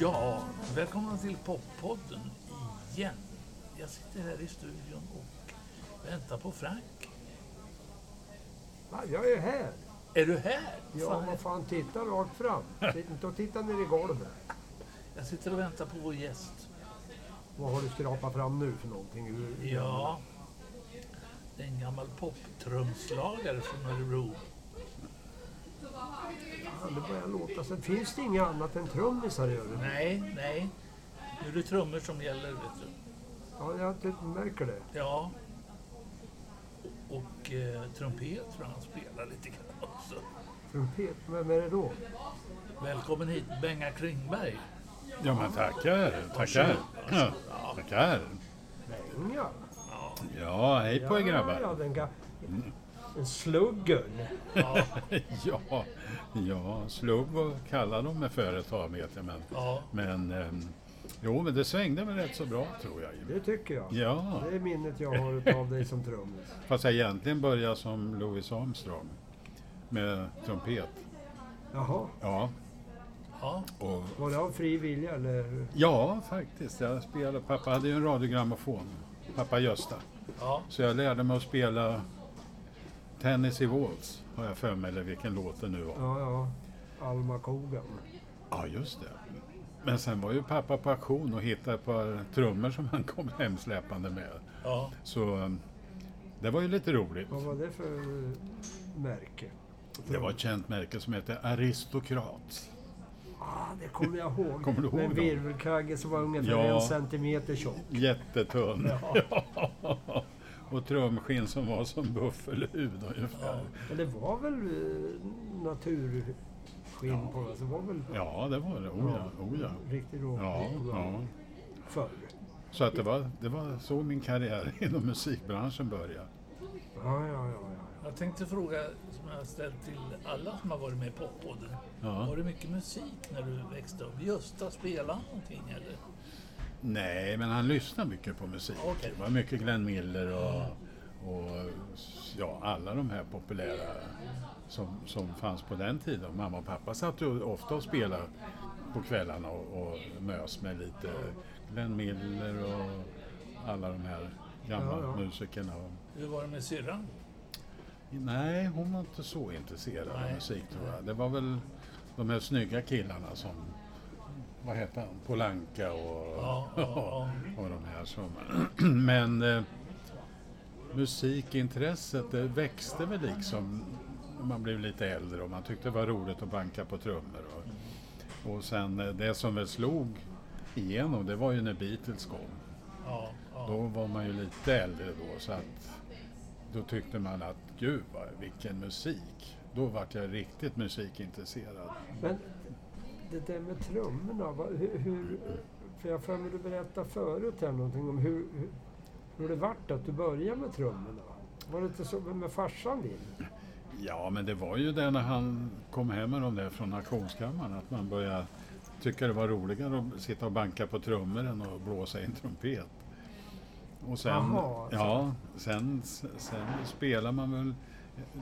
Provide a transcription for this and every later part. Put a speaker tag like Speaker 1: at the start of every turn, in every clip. Speaker 1: Ja, välkomna till Poppodden igen. Jag sitter här i studion och väntar på Frank.
Speaker 2: Va, jag är här.
Speaker 1: Är du här?
Speaker 2: Ja,
Speaker 1: Fan,
Speaker 2: vad fan, titta rakt fram. Sitt inte och titta ner i golvet.
Speaker 1: Jag sitter och väntar på vår gäst.
Speaker 2: Vad har du skrapat fram nu för någonting? Ur-
Speaker 1: Ja, det är en gammal poptrumslagare från Örebro.
Speaker 2: Fan, det börjar låta så. Finns det inget annat än trummisar i Örebro?
Speaker 1: Nej, nej. Nu är det trummor som gäller, vet du.
Speaker 2: Ja, jag typ märker det.
Speaker 1: Ja. Och, och eh, trumpet tror jag han spelar lite grann också.
Speaker 2: Trumpet, vem är det då?
Speaker 1: Välkommen hit, Benga Kringberg.
Speaker 3: Ja, men tackar. Tackar. Ja, tackar.
Speaker 2: Benga?
Speaker 3: Ja, hej på er
Speaker 2: Ja,
Speaker 3: grabbar.
Speaker 2: den ga... En sluggen.
Speaker 1: Ja,
Speaker 3: Ja, ja slugg och kallar de mig för ett tag vet jag. Men,
Speaker 1: ja.
Speaker 3: men ehm, jo, men det svängde väl rätt så bra tror jag.
Speaker 2: Det tycker jag.
Speaker 3: Ja,
Speaker 2: Det är minnet jag har av dig som trummis.
Speaker 3: fast jag egentligen började som Louis Armstrong med trumpet.
Speaker 2: Jaha,
Speaker 3: Ja,
Speaker 1: ja.
Speaker 3: och,
Speaker 2: var det av fri vilja eller?
Speaker 3: ja faktiskt. Jag spelade, pappa hade ju en radiogrammofon, pappa Gösta.
Speaker 1: ja.
Speaker 3: Så jag lärde mig att spela Tennessee Waltz, har jag för mig, eller vilken låt det nu var.
Speaker 2: Ja, ja. Alma Kogan.
Speaker 3: Ja, just det. Men sen var ju pappa på auktion och hittade ett par trummor som han kom hemsläpande med.
Speaker 1: ja.
Speaker 3: Så eh, det var ju lite roligt.
Speaker 2: Vad var det för eh, märke?
Speaker 3: Det var ett känt märke som hette Aristokrat.
Speaker 2: Ah, det kommer jag ihåg.
Speaker 3: Kommer du ihåg
Speaker 2: Med en
Speaker 3: dem?
Speaker 2: virvelkagge som var ungefär
Speaker 3: Ja.
Speaker 2: en centimeter tjock.
Speaker 3: Jättetunn.
Speaker 2: Ja.
Speaker 3: Ja. och trumskinn som var som buffelhud ungefär.
Speaker 2: Men det var väl eh, naturskinn på det? så Det var väl
Speaker 3: Ja, det var det. Oh ja, oh ja.
Speaker 2: riktigt rå
Speaker 3: Ja, ja.
Speaker 2: förr.
Speaker 3: Så att det, var, det var så min karriär inom musikbranschen började.
Speaker 2: Ja, ja, ja. ja.
Speaker 1: Jag tänkte fråga, som jag har ställt till alla som har varit med på podden.
Speaker 3: Ja.
Speaker 1: Var det mycket musik när du växte upp? Gösta, spelade han någonting eller?
Speaker 3: Nej, men han lyssnade mycket på musik.
Speaker 1: Okej.
Speaker 3: Det var mycket Glenn Miller och, och ja, alla de här populära som, som fanns på den tiden. Mamma och pappa satt ju ofta och spelade på kvällarna och, och mös med lite Glenn Miller och alla de här gamla
Speaker 2: Ja, ja.
Speaker 3: musikerna. Och,
Speaker 1: Hur var det med syrran?
Speaker 3: nej, hon var inte så intresserad
Speaker 1: Nej.
Speaker 3: av musik tror jag. Det var väl de här snygga killarna som vad heter han? Polanka och,
Speaker 1: Ja, ja, ja.
Speaker 3: och de här som... Men eh, musikintresset det växte väl liksom när man blev lite äldre och man tyckte det var roligt att banka på trummor. Och, och sen eh, det som väl slog igenom det var ju när Beatles kom.
Speaker 1: Ja, ja.
Speaker 3: Då var man ju lite äldre då så att då tyckte man att gud vad, vilken musik. Då vart jag riktigt musikintresserad.
Speaker 2: Men det där med trummorna, vad- hur... hur för jag har för mig du berättade förut här någonting om hur, hur, hur det vart att du började med trummorna. Var det inte så med farsan din?
Speaker 3: Ja, men det var ju det när han kom hem med de där från auktionskammaren att man började tycka det var roligare att sitta och banka på trummor än att blåsa i en trumpet. Och sen,
Speaker 2: Jaha,
Speaker 3: ja, sen, sen spelade man väl,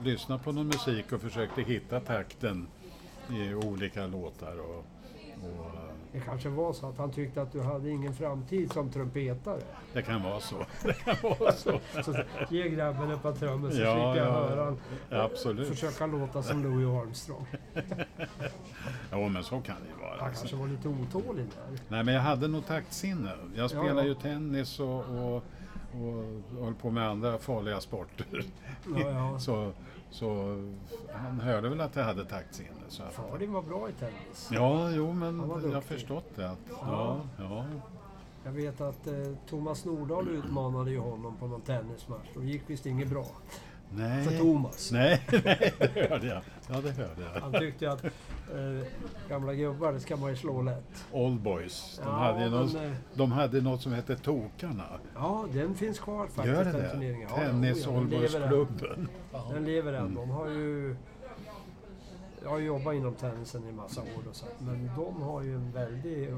Speaker 3: lyssnade på någon musik och försökte hitta takten i olika låtar. Och, och
Speaker 2: Det kanske var så att han tyckte att du hade ingen framtid som trumpetare.
Speaker 3: det kan vara så. Det kan vara så.
Speaker 2: Så ge grabben ett par trummor så
Speaker 3: Ja,
Speaker 2: slipper jag
Speaker 3: ja,
Speaker 2: höra han
Speaker 3: Absolut.
Speaker 2: försöka låta som Louis Armstrong.
Speaker 3: Ja, men så kan det ju vara.
Speaker 2: Han kanske var lite otålig där.
Speaker 3: Nej, men jag hade nog taktsinne. Jag
Speaker 2: Ja,
Speaker 3: spelade
Speaker 2: ja.
Speaker 3: ju tennis och, och, och höll på med andra farliga sporter.
Speaker 2: Ja, ja.
Speaker 3: Så, så han hörde väl att jag hade taktsinne. Så att,
Speaker 2: Far din var bra i tennis.
Speaker 3: ja, jo, men
Speaker 2: Han var
Speaker 3: jag har
Speaker 2: duktig.
Speaker 3: förstått det. Att, ja, ja,
Speaker 2: Jag vet att eh, Thomas Nordahl utmanade ju honom på någon tennismatch och det gick visst inget bra.
Speaker 3: Nej.
Speaker 2: för Thomas.
Speaker 3: Nej, nej, det hörde jag. Ja, det hörde jag.
Speaker 2: Han tyckte att eh, gamla gubbar, det ska man ju slå lätt.
Speaker 3: Old Boys. De,
Speaker 2: Ja,
Speaker 3: hade ju
Speaker 2: men,
Speaker 3: något,
Speaker 2: eh,
Speaker 3: de hade något som hette Tokarna.
Speaker 2: Ja, den finns kvar faktiskt,
Speaker 3: Gör det
Speaker 2: den
Speaker 3: det?
Speaker 2: turneringen. Ja,
Speaker 3: Tennis
Speaker 2: jo, ja, den lever än.
Speaker 3: Oldboysklubben.
Speaker 2: Den lever än. De har ju... Jag har jobbat inom tennisen i en massa år och så, men de har ju en väldig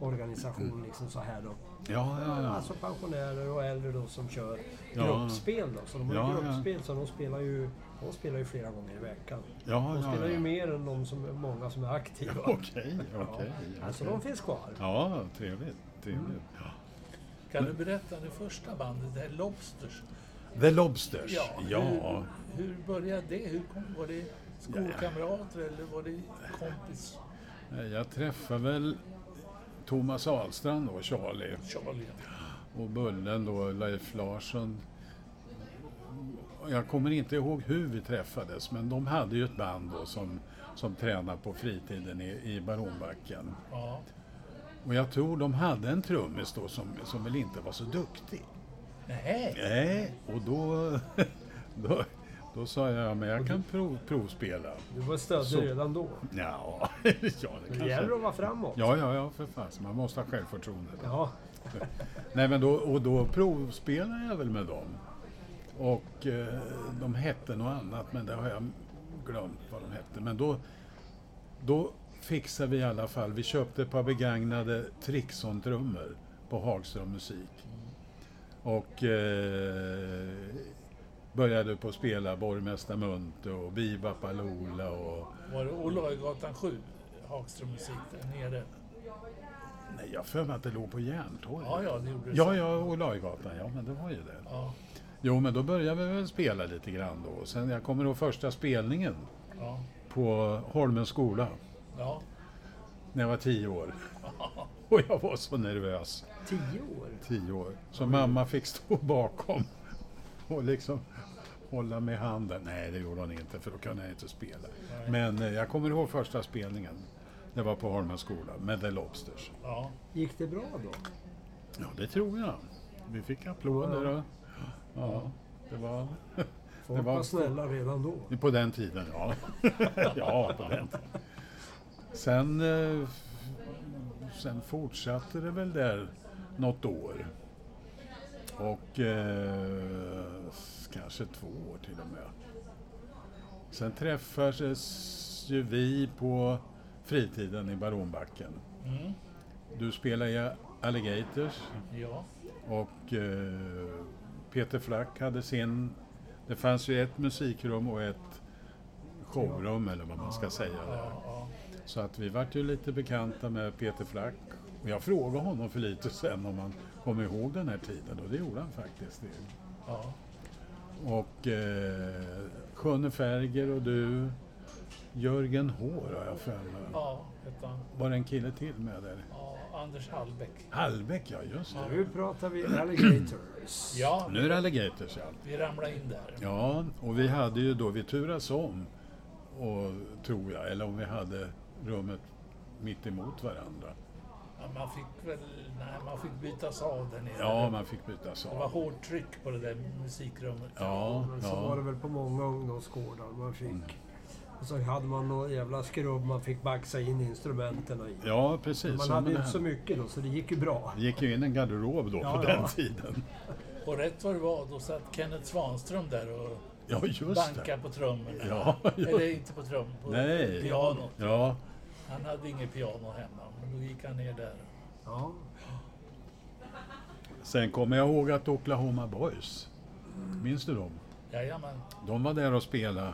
Speaker 2: organisation liksom så här då.
Speaker 3: Ja, Mm. ja, ja.
Speaker 2: Alltså pensionärer och äldre då som kör
Speaker 3: Ja.
Speaker 2: gruppspel då. Så de har
Speaker 3: Ja, ja.
Speaker 2: gruppspel så de spelar ju, de spelar ju flera gånger i veckan.
Speaker 3: ja,
Speaker 2: De
Speaker 3: ja,
Speaker 2: spelar ju
Speaker 3: ja.
Speaker 2: mer än de som, många som är aktiva.
Speaker 3: Okej,
Speaker 2: Ja.
Speaker 3: okej.
Speaker 2: Alltså
Speaker 3: okej.
Speaker 2: de finns kvar.
Speaker 3: Ja, trevligt. trevligt. Ja.
Speaker 1: Kan du berätta det första bandet, det här Lobsters?
Speaker 3: The Lobsters.
Speaker 1: Ja.
Speaker 3: ja.
Speaker 1: Hur, hur började det? Hur kom, var det skolkamrater eller var det kompis?
Speaker 3: Nej, Jag träffade väl Thomas Ahlstrand då, Charlie,
Speaker 1: Charlie.
Speaker 3: och Bullen då, Leif Larsson. Jag kommer inte ihåg hur vi träffades, men de hade ju ett band då som, som tränade på fritiden i, i Baronbacken.
Speaker 1: Ja.
Speaker 3: Och jag tror de hade en trummis då som, som väl inte var så duktig.
Speaker 1: Nej.
Speaker 3: Nej, och då, då, då sa jag, men jag kan prov, provspela.
Speaker 2: Du var stöddig
Speaker 3: Så.
Speaker 2: redan då.
Speaker 3: Ja, ja, det
Speaker 2: Det gäller
Speaker 3: kanske.
Speaker 2: att vara framåt.
Speaker 3: Ja, ja, ja, för fasen. Man måste ha självförtroende.
Speaker 2: Ja.
Speaker 3: Nej, men då, och då provspelade jag väl med dem. Och eh, de hette något annat, men det har jag glömt vad de hette. Men då, då fixade vi i alla fall, vi köpte ett par begagnade Trixon-trummor på Hagström Musik. Och eh, började på att spela Borgmästar Munthe och Viva Paloola och
Speaker 1: Var det Olojgatan 7? Hagström musik där nere.
Speaker 3: Nej, jag har för mig att det låg på Järntorget.
Speaker 1: Ja, ja, det gjorde det.
Speaker 3: Ja, ja, Olajgatan, ja, men det var ju det.
Speaker 1: Ja,
Speaker 3: Jo, men då började vi väl spela lite grann då. Och Sen, jag kommer ihåg första spelningen
Speaker 1: ja,
Speaker 3: på Holmens skola
Speaker 1: ja.
Speaker 3: när jag var tio år. Och jag var så nervös,
Speaker 2: Tio år?
Speaker 3: tio år. Så mamma fick stå bakom och liksom hålla mig i handen. Nej, det gjorde hon inte för då kunde jag inte spela. Men eh, jag kommer ihåg första spelningen. Det var på Holmens skola med The Lobsters.
Speaker 1: ja.
Speaker 2: Gick det bra då?
Speaker 3: Ja, det tror jag. Vi fick applåder och... Ja, det var...
Speaker 2: Folk
Speaker 3: Det var-
Speaker 2: var snälla redan då.
Speaker 3: På den tiden, ja. ja, på den tiden. Sen, eh, f- sen fortsatte det väl där något år. Och eh, s- kanske två år till och med. Sen träffades ju vi på fritiden i Baronbacken.
Speaker 1: Mm.
Speaker 3: Du spelade i Alligators
Speaker 1: Ja,
Speaker 3: och eh, Peter Flack hade sin... Det fanns ju ett musikrum och ett showrum eller vad man ska säga där.
Speaker 1: ja, ja.
Speaker 3: Så att vi vart ju lite bekanta med Peter Flack. Och jag frågade honom för lite sen om han kom ihåg den här tiden och det gjorde han faktiskt.
Speaker 1: ja.
Speaker 3: Och eh, Sjönne Färger och du, Jörgen Hår har jag för mig.
Speaker 1: ja hette han.
Speaker 3: Var det en kille till med där?
Speaker 1: Ja, Anders Hallbäck.
Speaker 3: Hallbäck, ja just det.
Speaker 2: Nu pratar vi alligators.
Speaker 1: Ja,
Speaker 3: Nu är det Alligators ja.
Speaker 1: vi ramlade in där.
Speaker 3: Ja, och vi hade ju då, vi turas om, och, tror jag, eller om vi hade rummet mitt emot varandra.
Speaker 1: Ja, man fick väl, nej, man fick bytas av där nere.
Speaker 3: Ja, man fick bytas
Speaker 1: Det var
Speaker 3: av.
Speaker 1: hårt tryck på det där musikrummet.
Speaker 3: Ja,
Speaker 2: Men så var det
Speaker 3: ja.
Speaker 2: väl på många ungdomsgårdar man fick. Och så hade man någon jävla skrubb man fick baxa in instrumenten i.
Speaker 3: ja precis.
Speaker 2: Man
Speaker 3: Ja,
Speaker 2: hade
Speaker 3: men
Speaker 2: inte
Speaker 3: det-
Speaker 2: så mycket då, så det gick ju bra.
Speaker 3: det gick ju in en garderob då
Speaker 2: Ja,
Speaker 3: på
Speaker 2: ja.
Speaker 3: den tiden.
Speaker 1: Och rätt vad det var, då satt Kenneth Svanström där och
Speaker 3: Ja, just det.
Speaker 1: bankade på trummorna.
Speaker 3: Ja, ja.
Speaker 1: Eller inte på trummor, på
Speaker 3: Nej.
Speaker 1: pianot.
Speaker 3: Ja,
Speaker 1: Han hade inget piano hemma, men då gick han ner där.
Speaker 2: Ja.
Speaker 3: sen kommer jag ihåg att Oklahoma Boys, minns du dem?
Speaker 1: Jajamän.
Speaker 3: De var där och spelade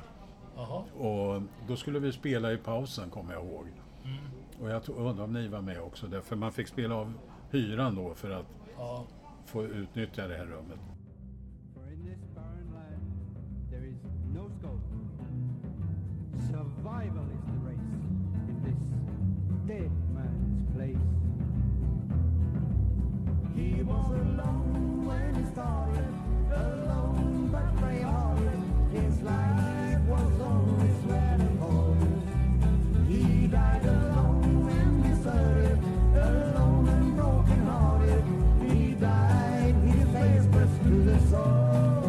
Speaker 1: Jaha.
Speaker 3: Och då skulle vi spela i pausen, kommer jag ihåg.
Speaker 2: Mm.
Speaker 3: Och jag tror- undrar om ni var med också, där, för man fick spela av hyran då för att
Speaker 1: Ja.
Speaker 3: få utnyttja det här rummet.
Speaker 4: For in this barren land, there is no scope. Survival is the race in this dead man's place. He was alone when he started, alone but brave-hearted. His life was always red and gold. He died alone and deserted, alone and broken-hearted. He died, his face was to the soul.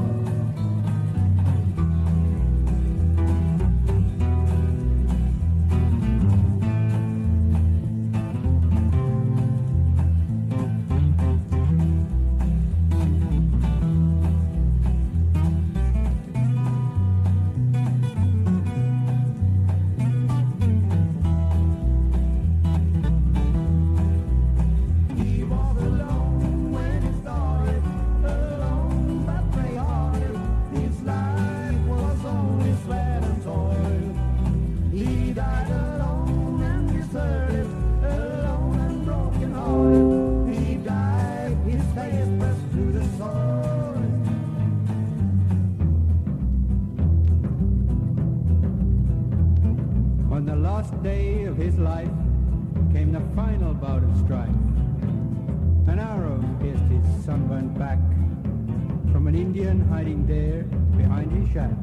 Speaker 5: elbowed and striped. An arrow pierced his sunburnt back from an Indian hiding there behind his shack.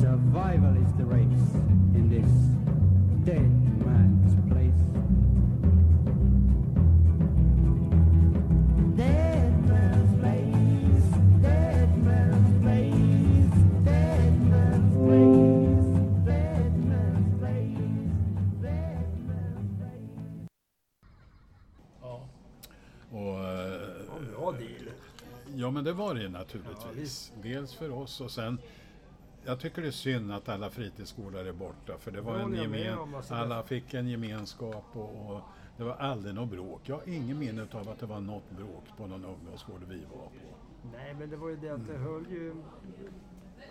Speaker 5: Survival is the race in this dead man's place.
Speaker 4: Dead man's place, dead man's place, dead man's place, dead man's place, dead man's place.
Speaker 1: Ja.
Speaker 3: Och, eh,
Speaker 2: Bra deal.
Speaker 3: ja, men det var det ju naturligtvis. Dels för oss och sen jag tycker det är synd att alla fritidsgårdar är borta för det var
Speaker 2: Det
Speaker 3: en
Speaker 2: håller jag med
Speaker 3: gemen,
Speaker 2: om, alltså.
Speaker 3: alla fick en gemenskap och, och det var aldrig något bråk. Jag har ingen minne av att det var något bråk på någon ungdomsgård vi var på.
Speaker 2: Nej, men det var ju det att det höll ju...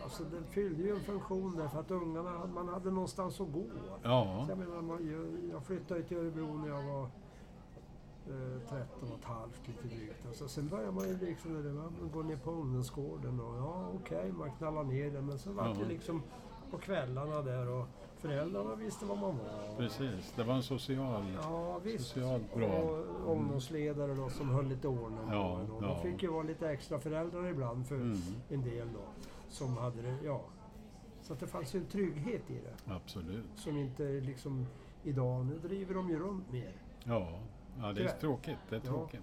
Speaker 2: Alltså den fyllde ju en funktion där för att ungarna, man hade någonstans att gå.
Speaker 3: Ja,
Speaker 2: Så jag menar, man, ju- jag flyttade till Örebro när jag var eh, 13 och ett halvt lite drygt. Alltså, sen började man ju liksom, när det var- man går ner på ungdomsgården och ja okej, man knallar ner den. Men så var det
Speaker 3: Ja.
Speaker 2: liksom på kvällarna där och föräldrarna visste var man var.
Speaker 3: precis. Det var en social...
Speaker 2: Ja visst.
Speaker 3: Socialt bra.
Speaker 2: Och ungdomsledare då som höll lite ordning på
Speaker 3: Ja,
Speaker 2: en. Och
Speaker 3: ja.
Speaker 2: De fick ju vara lite extra föräldrar ibland för
Speaker 3: Mm.
Speaker 2: en del då. Som hade det, ja. Så att det fanns ju en trygghet i det
Speaker 3: Absolut.
Speaker 2: som inte liksom idag, nu driver de ju runt mer.
Speaker 3: Ja. ja, det är
Speaker 2: Tyvärr.
Speaker 3: tråkigt. Det är
Speaker 2: Ja.
Speaker 3: tråkigt.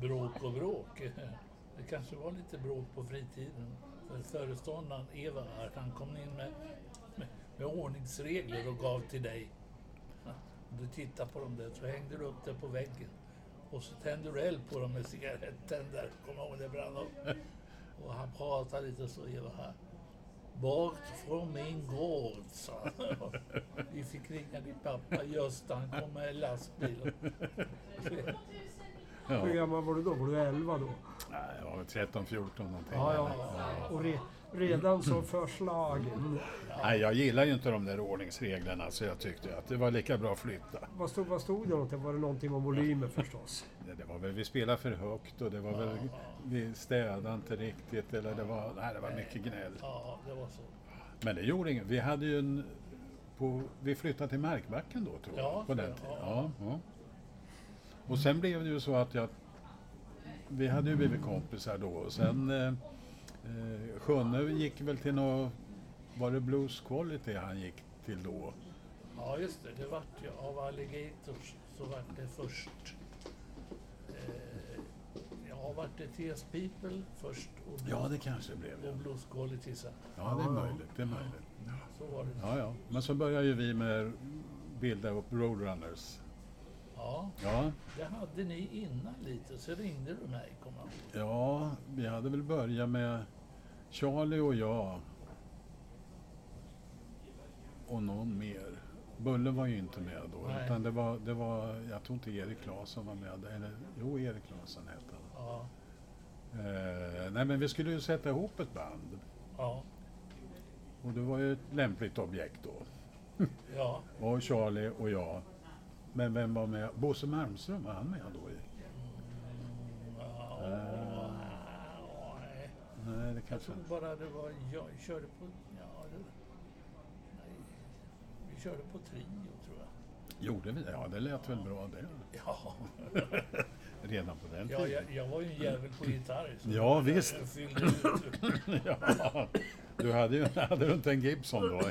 Speaker 1: Bråk och bråk. Det kanske var lite bråk på fritiden. För föreståndaren Eva här, han kom in med, med, med ordningsregler och gav till dig. Du tittade på dem där, så hängde du upp det på väggen. Och så tände du eld på dem med cigarettändare. Kommer du ihåg det brann upp? Och han pratade lite så, Eva här. Bort från min gård, sa han. Vi fick ringa din pappa Gösta, han kom med lastbil.
Speaker 3: Ja.
Speaker 2: Hur gammal var du då? Var du 11 då?
Speaker 3: Nej, jag var 13, 14 någonting.
Speaker 2: Ja, ja. Och re, redan så förslagen.
Speaker 3: Nej, jag gillar ju inte de där ordningsreglerna så jag tyckte att det var lika bra att flytta.
Speaker 2: Vad stod, vad stod det någonting? Var det någonting om volymer förstås?
Speaker 3: Det- Det var väl, vi spelade för högt och det var väl, vi städade inte riktigt eller det var, nej, det var mycket gnäll.
Speaker 1: Ja, det var så.
Speaker 3: Men det gjorde inget. Vi hade ju en, på, vi flyttade till Markbacken då tror jag,
Speaker 1: Ja,
Speaker 3: på den
Speaker 1: ja.
Speaker 3: tiden. Ja, ja. Och sen blev det ju så att jag, vi hade ju blivit kompisar då och sen eh, eh, Sjönne gick väl till något, var det Blues Quality han gick till då?
Speaker 1: Ja, just det. Det vart ju av Alligators så vart det först... Eh, ja, vart det TS People först och,
Speaker 3: Ja, det kanske det blev.
Speaker 1: och
Speaker 3: Ja,
Speaker 1: Blues Quality sen.
Speaker 3: ja det är möjligt. Det är möjligt.
Speaker 1: Så var det.
Speaker 3: Ja, ja. Men så började ju vi med bilda upp Roadrunners.
Speaker 1: Ja,
Speaker 3: Ja,
Speaker 1: det hade ni innan lite, så ringde du mig, kommer jag ihåg.
Speaker 3: ja vi hade väl börjat med Charlie och jag. Och någon mer. Bullen var ju inte med då.
Speaker 1: Nej.
Speaker 3: Utan det var, det var, jag tror inte Erik Claesson var med. Eller, jo, Erik Claesson hette han.
Speaker 1: Ja,
Speaker 3: Eh, nej, men vi skulle ju sätta ihop ett band.
Speaker 1: ja,
Speaker 3: Och det var ju ett lämpligt objekt då.
Speaker 1: ja.
Speaker 3: Och Charlie och jag. Men vem var med? Bosse Malmström, var han med då? i-
Speaker 1: Mm, ja, ja, nej.
Speaker 3: Nej, det
Speaker 1: Jag
Speaker 3: kanske
Speaker 1: tror
Speaker 3: inte.
Speaker 1: bara det var... Jag körde på... Ja, det, nej. Vi körde på Trio, tror jag.
Speaker 3: Gjorde vi det? Ja, det lät väl bra det.
Speaker 1: Ja,
Speaker 3: Redan på den
Speaker 1: ja
Speaker 3: tiden.
Speaker 1: jag, jag var ju en jävel på gitarr. Så
Speaker 3: Ja, visst.
Speaker 1: Jag fyllde ut
Speaker 3: Ja. Du hade ju hade du inte en Gibson då?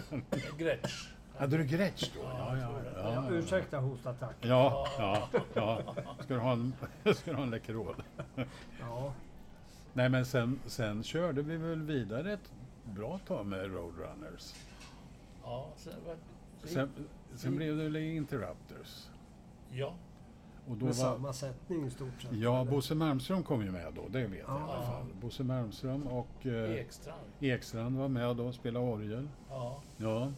Speaker 1: Gretsch.
Speaker 3: Hade du Gretsch då? Ja, ja, ja.
Speaker 2: Ursäkta hostattack.
Speaker 3: Ja, ja, ja. Ska du ha en, ska du ha en Läkerol?
Speaker 2: Ja.
Speaker 3: Nej, men sen, sen körde vi väl vidare ett bra tag med Roadrunners.
Speaker 1: Ja, sen var
Speaker 3: Sen, sen blev det väl Interrupters.
Speaker 1: Ja,
Speaker 3: Och då
Speaker 2: Med
Speaker 3: var,
Speaker 2: samma sättning i stort sett.
Speaker 3: ja,
Speaker 2: eller?
Speaker 3: Bosse Malmström kom ju med då, det vet jag i alla
Speaker 2: Ja.
Speaker 3: fall. Bosse Malmström och eh,
Speaker 1: Ekstrand.
Speaker 3: Ekstrand var med då och spelade orgel.
Speaker 1: Ja,
Speaker 3: Ja.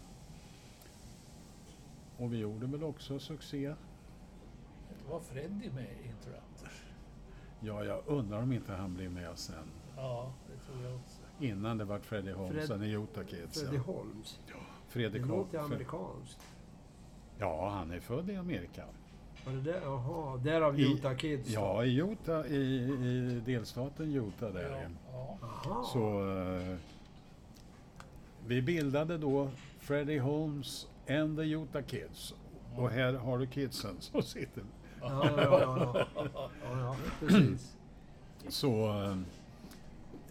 Speaker 3: Och vi gjorde väl också succé.
Speaker 1: var Freddy med i Interrupters?
Speaker 3: Ja, jag undrar om inte han blev med sen.
Speaker 1: Ja, det tror jag också.
Speaker 3: Innan det vart Freddie Holmsen i Utah Kids.
Speaker 2: Freddie
Speaker 3: ja.
Speaker 2: Holmes. Det
Speaker 3: Fredrik
Speaker 2: låter
Speaker 3: Holm-
Speaker 2: amerikanskt.
Speaker 3: Ja, han är född i Amerika.
Speaker 2: Var det där? Jaha, därav
Speaker 3: I-
Speaker 2: Utah Kids?
Speaker 3: Ja, i Utah, i, i delstaten Utah där.
Speaker 1: Ja, ja.
Speaker 2: Aha.
Speaker 3: Så eh, vi bildade då Freddie Holmes and the Utah Kids. Och här har du kidsen som sitter.
Speaker 2: Ja, ja, ja. ja. ja, ja precis.
Speaker 3: Så eh,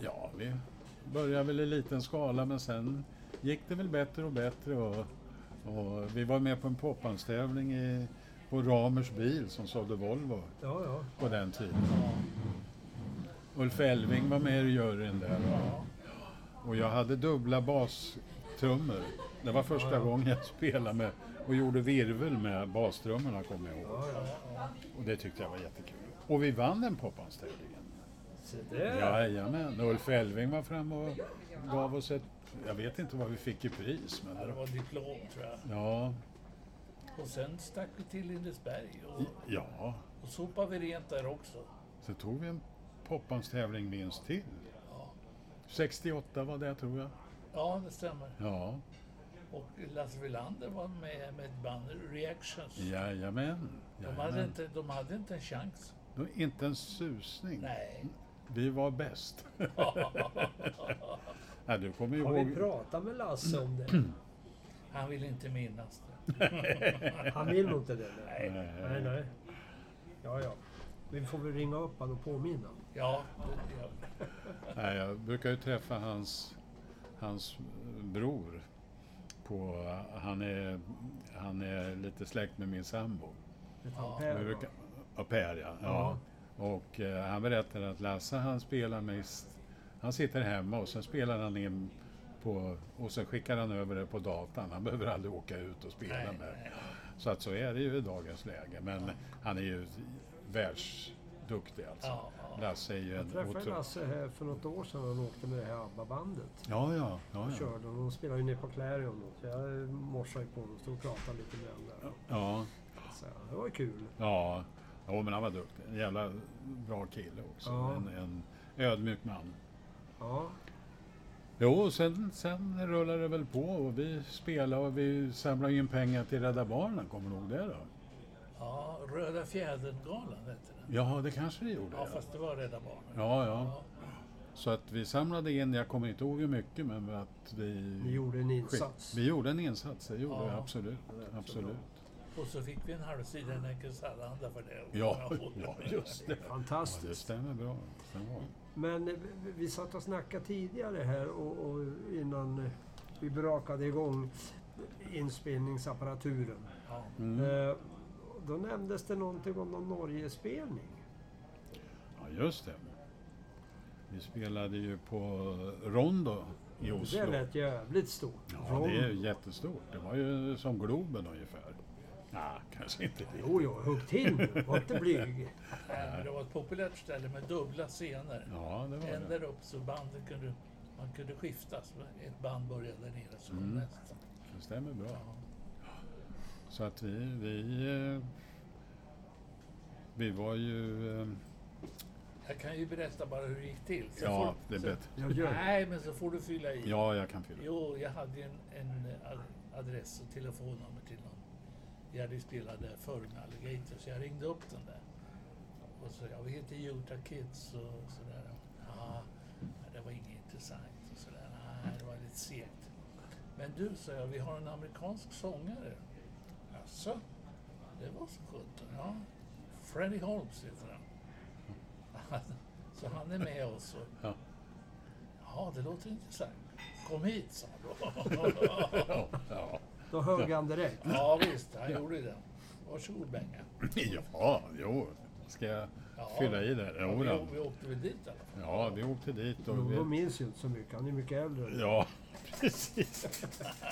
Speaker 3: ja, vi började väl i liten skala men sen gick det väl bättre och bättre. Och, och vi var med på en popbandstävling i- på Ramers bil som sålde Volvo
Speaker 2: Ja, ja.
Speaker 3: på den tiden. Ulf Elving var med i juryn där. och- Och jag hade dubbla bastrummor. Det var första gången jag spelade med och gjorde virvel med bastrummorna kommer jag ihåg. Och det tyckte jag var jättekul. Och vi vann den popbandstävlingen.
Speaker 2: Se där.
Speaker 3: Jajamän, Ulf Elving var fram och gav oss ett, jag vet inte vad vi fick i pris, men
Speaker 1: Det var diplom, tror jag.
Speaker 3: ja,
Speaker 1: Och sen stack vi till Lindesberg och,
Speaker 3: i- ja,
Speaker 1: och sopade vi rent där också.
Speaker 3: så tog vi en popbandstävling minst till. 68 var det tror jag.
Speaker 1: Ja, det stämmer.
Speaker 3: Ja,
Speaker 1: Och Lasse Welander var med med ett band, Reactions.
Speaker 3: jajamän.
Speaker 1: De hade,
Speaker 3: jajamän.
Speaker 1: inte, de hade inte en chans.
Speaker 3: Det var Inte en susning.
Speaker 1: Nej.
Speaker 3: Vi var bäst. Nej, du kommer
Speaker 2: Har vi
Speaker 3: ihåg.
Speaker 2: pratat med Lasse om det?
Speaker 1: Han vill inte minnas det.
Speaker 2: Han vill nog inte det. Nej,
Speaker 3: Nej.
Speaker 2: nej. nej. Ja, ja. Vi får väl ringa upp honom och påminna.
Speaker 1: Ja, det, ja.
Speaker 3: Nej, jag brukar ju träffa hans, hans bror. På, han, är, han är lite släkt med min sambo.
Speaker 2: Ja,
Speaker 3: Vi brukar- Ja, Per ja. ja. Och eh, han berättade att Lasse han spelar mest, han sitter hemma och sen spelar han in på, och sen skickar han över det på datan. Han behöver aldrig åka ut och spela
Speaker 1: Nej,
Speaker 3: med. Så att så är det ju i dagens läge. Men han är ju världsduktig alltså.
Speaker 1: Ja,
Speaker 3: Lasse är ju en
Speaker 2: Jag träffade
Speaker 3: otro-
Speaker 2: Lasse här för något år sedan han åkte med det här ABBA-bandet.
Speaker 3: Ja, ja, ja,
Speaker 2: Och
Speaker 3: ja.
Speaker 2: körde och de spelade ju nere på Clarion då. Så jag eh, morsade ju på honom och stod och pratade lite med honom där.
Speaker 3: ja.
Speaker 2: Så det var ju kul.
Speaker 3: Ja, jo, men han var duktig. En jävla bra kille också.
Speaker 2: Ja.
Speaker 3: En, en ödmjuk man.
Speaker 2: Ja,
Speaker 3: Jo, och sen, sen rullade det väl på och vi spelade och vi samlade in pengar till Rädda Barnen, kommer du ihåg det då?
Speaker 1: ja Röda Fjädern-galan hette den.
Speaker 3: Ja, det kanske det gjorde.
Speaker 1: Ja, fast det var Rädda Barnen.
Speaker 3: ja, ja. Så att vi samlade in, jag kommer inte ihåg hur mycket, men att vi...
Speaker 2: ni gjorde en insats.
Speaker 3: Mm. Vi gjorde en insats, det gjorde
Speaker 1: Ja.
Speaker 3: vi absolut. absolut.
Speaker 1: Och så fick vi en halvsida i Nerikes Allehanda för det.
Speaker 3: Ja, ja, just det. Ja, det
Speaker 2: Fantastiskt.
Speaker 3: stämmer bra. Det stämmer bra.
Speaker 2: Men eh, vi- vi satt och snackade tidigare här och, och innan eh, vi brakade igång inspelningsapparaturen.
Speaker 1: Ja.
Speaker 3: Mm.
Speaker 2: Eh, Då nämndes det någonting om någon Norgespelning.
Speaker 3: Ja, just det. Vi spelade ju på Rondo i
Speaker 2: Det
Speaker 3: Oslo.
Speaker 2: lät jävligt stort.
Speaker 3: Ja, det är ju jättestort. Det var ju som Globen ungefär. Nej, kanske inte det.
Speaker 2: Jo, jo, hugg till nu. Var inte blyg.
Speaker 1: Nej, Äh, men det var ett populärt ställe med dubbla scener.
Speaker 3: Ja, det
Speaker 1: En
Speaker 3: var det.
Speaker 1: där upp så banden kunde, man kunde skiftas. Ett band började där nere så
Speaker 3: Mm.
Speaker 1: nästa.
Speaker 3: Det stämmer bra. Så att vi... Vi, eh, vi var ju... eh,
Speaker 1: Jag kan ju berätta bara hur det gick till. Så
Speaker 3: Ja,
Speaker 1: får-
Speaker 3: det är
Speaker 1: så-
Speaker 3: bättre.
Speaker 2: Jag gör
Speaker 1: Nej, men så får du fylla i.
Speaker 3: Ja, jag kan fylla i.
Speaker 1: Jo, jag hade ju en, en eh, ad- adress och telefonnummer till någon. Jag hade ju spelat där förr med Alligator, så jag ringde upp den där. Och så, ja, vi heter Utah Kids och sådär. Ja, men det var inget intressant och sådär. Nej, det var lite segt. Men du, sa jag, vi har en amerikansk sångare. Jaså? Det var så sjutton, ja. Freddie Holmes heter han. Så han är med oss och
Speaker 3: Ja.
Speaker 1: Ja, det låter intressant. Kom hit, sa han då.
Speaker 3: Ja, ja.
Speaker 2: Då högg han direkt.
Speaker 1: ja, visst, han gjorde det. Varsågod, Benga.
Speaker 3: ja, jo. Ska jag
Speaker 1: Ja.
Speaker 3: fylla i där? Jo,
Speaker 1: Vi,
Speaker 3: då.
Speaker 1: å- vi åkte väl dit i alla fall.
Speaker 3: Ja, vi åkte dit och...
Speaker 2: Då
Speaker 3: Vi,
Speaker 2: minns ju inte så mycket. Han är mycket äldre.
Speaker 3: Ja, precis.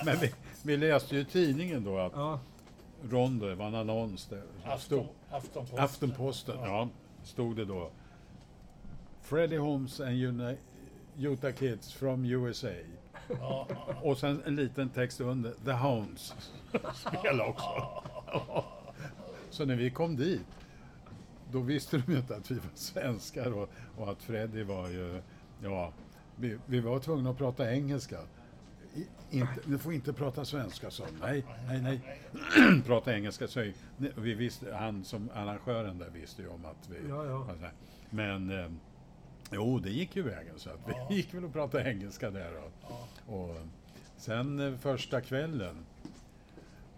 Speaker 3: Men vi, vi läste ju i tidningen då att
Speaker 2: Ja,
Speaker 3: Rondo, det var en annons där. som
Speaker 1: Afton,
Speaker 3: stod-
Speaker 1: Aftonposten.
Speaker 3: Aftenposten, ja, stod det då. Freddie Holmes and Uni- Utah Kids from USA.
Speaker 1: Ja,
Speaker 3: Och sen en liten text under, The Hounds. Spela också. Så när vi kom dit, då visste de ju inte att vi var svenskar och, och att Freddie var ju, ja, vi, vi var tvungna att prata engelska. I, inte, ni får inte prata svenska, så Nej, nej, nej. prata engelska, så vi visste, han som arrangören där visste ju om att vi...
Speaker 2: Ja, ja.
Speaker 3: Men, eh, jo, det gick ju vägen så att vi gick väl och pratade engelska där. Och, och sen eh, första kvällen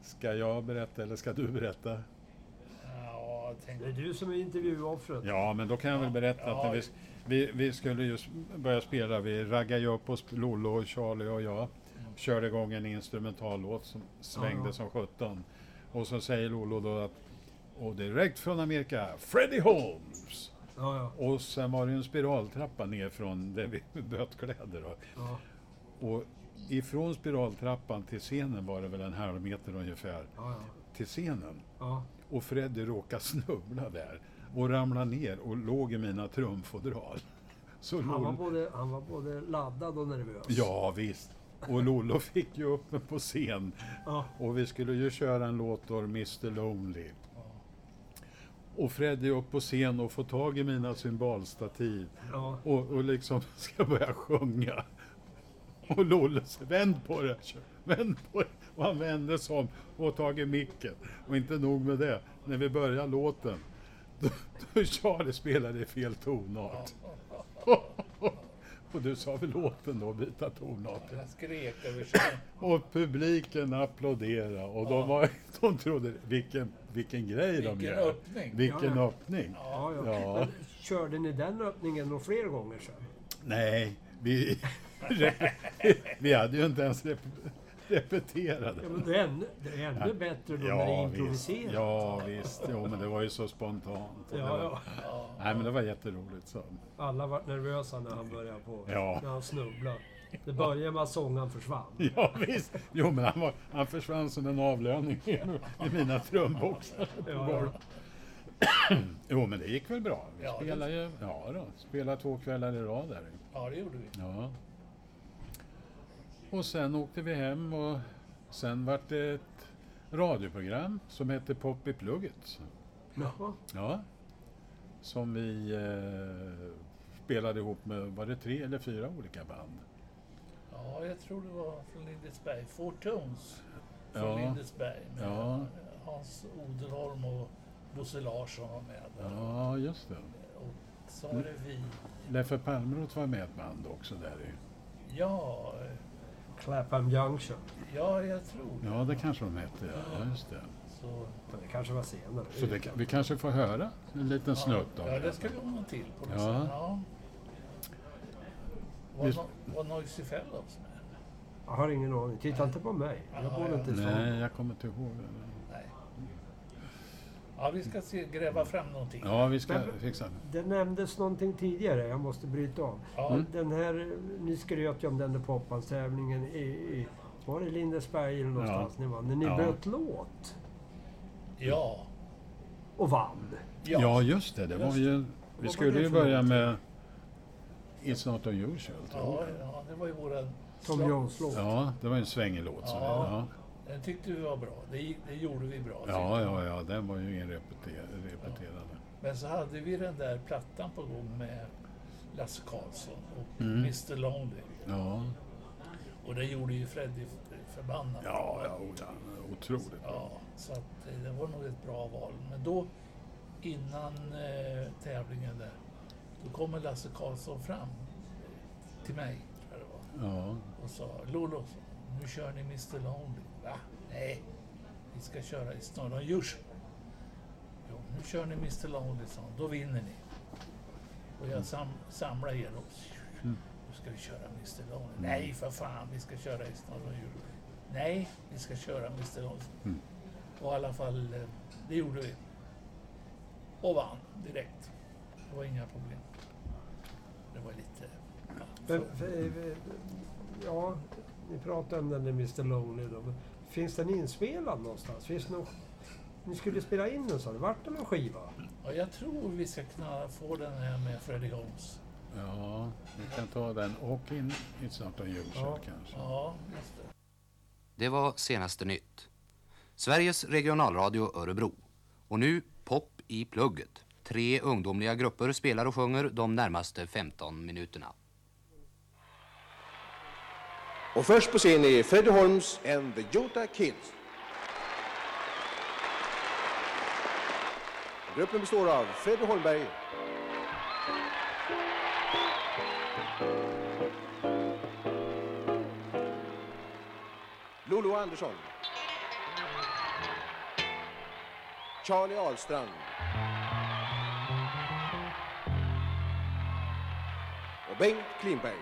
Speaker 3: Ska jag berätta eller ska du berätta?
Speaker 1: Ja, jag
Speaker 2: Det är
Speaker 1: tänkte...
Speaker 2: du som är intervjuoffret.
Speaker 3: Ja, men då kan jag väl berätta att när vi, vi, vi skulle just börja spela. Vi raggade ju upp oss, Lollo, och Charlie och jag. Körde igång en instrumentallåt som svängde
Speaker 2: Ja.
Speaker 3: som sjutton. Och så säger Lollo då att, och direkt från Amerika, Freddie Holmes!
Speaker 2: Ja, ja.
Speaker 3: Och sen var det ju en spiraltrappa ner från där vi böt kläder. Då.
Speaker 2: ja.
Speaker 3: Och ifrån spiraltrappan till scenen var det väl en halv meter ungefär.
Speaker 2: ja,
Speaker 3: Till scenen.
Speaker 2: ja.
Speaker 3: Och Freddy råkade snubbla där och ramla ner och låg i mina trumfodral. Så
Speaker 2: Han, var
Speaker 3: Lollo,
Speaker 2: både, han var både laddad och nervös.
Speaker 3: Mm. ja visst. Och Lollo fick ju upp mig på scen.
Speaker 2: Ja.
Speaker 3: Och vi skulle ju köra en låt då, Mr Lonely. Och Freddy upp på scen och får tag i mina cymbalstativ.
Speaker 2: Ja.
Speaker 3: Och, och liksom ska börja sjunga. Och Lollo säger vänd på det, kör, vänd på det. Och han vände sig om och har tagit micken. Och inte nog med det, när vi börjar låten, då, då Charlie spelade i fel tonart. Och du sa väl låten då, byta tonart.
Speaker 1: Jag skrek över sig.
Speaker 3: Och publiken applåderade och de, var, de trodde, vilken, vilken grej de
Speaker 1: Vilken
Speaker 3: gör.
Speaker 1: öppning.
Speaker 2: Ja,
Speaker 3: Vilken
Speaker 2: ja.
Speaker 3: öppning.
Speaker 2: Ja, ja.
Speaker 3: Ja.
Speaker 2: Men körde ni den öppningen då fler gånger sen?
Speaker 3: Nej, vi, vi hade ju inte ens rep, repeterat.
Speaker 2: Ja, men det är ännu, det är ännu bättre då när det är
Speaker 3: visst.
Speaker 2: improviserat.
Speaker 3: Ja, visst. Jo, men det var ju så spontant. Och det
Speaker 2: Ja,
Speaker 3: var,
Speaker 2: ja.
Speaker 3: Nej, men det var jätteroligt. Så.
Speaker 2: Alla var nervösa när han började på.
Speaker 3: Ja.
Speaker 2: När han snubblade. Det började med att sången försvann.
Speaker 3: Ja, visst. Jo, men han, var, han försvann som en avlöning i mina trumboxar.
Speaker 2: Ja, ja.
Speaker 3: Jo, men det gick väl bra. Vi
Speaker 1: Ja, det-
Speaker 3: spelade ju... Ja, då. Spelade två kvällar i rad där.
Speaker 1: Ja, det gjorde vi.
Speaker 3: Ja. Och sen åkte vi hem och sen vart det ett radioprogram som hette Pop i plugget.
Speaker 2: Jaha.
Speaker 3: Ja. Som vi eh, spelade ihop med, var det tre eller fyra olika band?
Speaker 1: Ja, jag tror det var från Lindesberg. Four Tones från
Speaker 3: Ja.
Speaker 1: Lindesberg. Med
Speaker 3: Ja.
Speaker 1: Hans Odelholm och Bosse Larsson var med där.
Speaker 3: Ja, just det.
Speaker 1: Och så var det vi.
Speaker 3: Leffe Palmroth var med i ett band också där ju.
Speaker 1: Ja,
Speaker 2: Clapham Junction.
Speaker 1: ja jag tror det.
Speaker 3: Ja, det kanske de hette, ja. ja just det.
Speaker 1: Så,
Speaker 2: Men det kanske var senare.
Speaker 3: Så det, kan- vi kanske får höra en liten snutt av
Speaker 1: ja, det
Speaker 3: det.
Speaker 1: ska vi ordna till på något
Speaker 3: Ja.
Speaker 1: sätt. Ja. Var,
Speaker 3: Vi-
Speaker 1: no, var Noisy Fellows med?
Speaker 2: Jag har ingen aning. Titta inte på mig. Jag
Speaker 1: Ja,
Speaker 2: bor
Speaker 1: ja.
Speaker 2: inte i stan.
Speaker 3: Nej, jag kommer inte ihåg.
Speaker 1: Nej. Ja, vi ska se, gräva fram någonting.
Speaker 3: Ja, vi ska fixa det.
Speaker 2: Det nämndes någonting tidigare. Jag måste bryta av.
Speaker 1: Ja.
Speaker 3: Mm.
Speaker 2: Den här, eh, ni skröt ju om den där popbandstävlingen i, i... Var det Lindesberg eller någonstans ni var? När ni
Speaker 3: Ja.
Speaker 2: böt låt
Speaker 1: Ja.
Speaker 2: och vann.
Speaker 1: Ja.
Speaker 3: Ja, just det. Det var
Speaker 1: Just
Speaker 3: ju... Vi
Speaker 2: var
Speaker 3: skulle
Speaker 2: det
Speaker 3: ju
Speaker 2: för
Speaker 3: börja
Speaker 2: någonting?
Speaker 3: med It's not unusual, tror
Speaker 1: Ja,
Speaker 3: jag.
Speaker 1: ja, det var ju våran...
Speaker 2: Tom
Speaker 1: slag-
Speaker 2: Jones-låt.
Speaker 3: Ja, det var ju en svängelåt. så det-
Speaker 1: Ja.
Speaker 3: Ja.
Speaker 1: Den tyckte vi var bra. Det, gick- det gjorde vi bra.
Speaker 3: ja, ja, ja. Den var ju inrepeterad.
Speaker 1: Men så hade vi den där plattan på gång med Lasse Karlsson och
Speaker 3: Mm.
Speaker 1: Mr Lonely.
Speaker 3: Ja,
Speaker 1: Och det gjorde ju Freddy f- förbannad.
Speaker 3: ja, ja. o- ja, Otroligt.
Speaker 1: Ja, så att eh, det var nog ett bra val. Men då, innan eh, tävlingen där, då kommer Lasse Karlsson fram till mig, tror jag det var,
Speaker 3: Ja,
Speaker 1: och sa Lolo, nu kör ni Mr Lonely. Va? Nej, vi ska köra i Snurran Djurs. Jo, nu kör ni Mr Lonely, sa han. Då vinner ni. Och jag sam samlar er och nu ska vi köra Mr Lonely. Nej, för fan, vi ska köra i Snurran Djurs. Nej, vi ska köra Mr Lonely.
Speaker 3: Mm.
Speaker 1: Och i alla fall, eh, det gjorde vi. Och vann direkt. Det var inga problem. Det var lite...
Speaker 2: Men, eh, eh, ja, ni pratade om den där Mr Lonely då. men Finns den inspelad någonstans? Finns det någon, ni skulle spela in den sa du. Vart det någon skiva?
Speaker 1: Ja, jag tror vi ska kunna få den här med Freddie Holmes.
Speaker 3: ja. Vi kan ta den och in It's not unusual
Speaker 2: Ja.
Speaker 3: kanske.
Speaker 1: Ja, just det.
Speaker 6: Det var senaste nytt. Sveriges regionalradio Örebro. Och nu Pop i plugget. Tre ungdomliga grupper spelar och sjunger de närmaste 15 minuterna.
Speaker 7: Och först på scen är Freddie Holmes and the Jota Kids. Gruppen består av Freddie Holmberg, Lolo Andersson, Charlie Ahlstrand. Och Bengt Klingberg.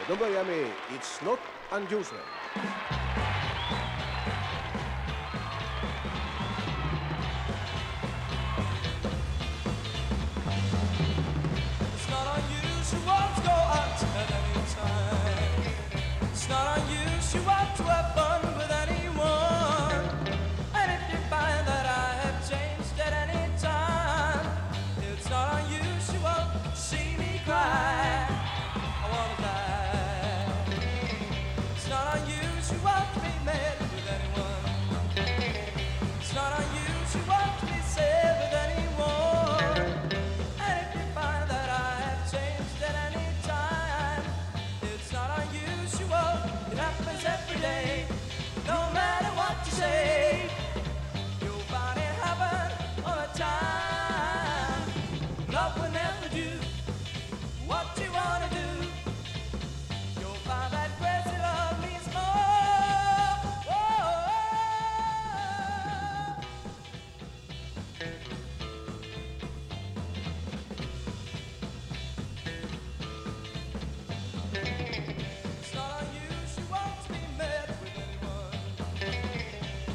Speaker 7: Och de börjar med It's Not Unusual.
Speaker 8: It's not unusual to go out at any time. It's not unusual to have fun with anyone. And if you find that I have changed at any time, it's not unusual to see me cry. I wanna die. It's not unusual to be mad with anyone. It's not unusual to be sad with anyone. And if you find that I have changed at any time, it's not unusual. It happens every day, no matter what you say. You'll find it happen all the time. Love will never do what you wanna do. You'll find that crazy love means more. Oh, Whoa. It's not unusual to be mad with anyone.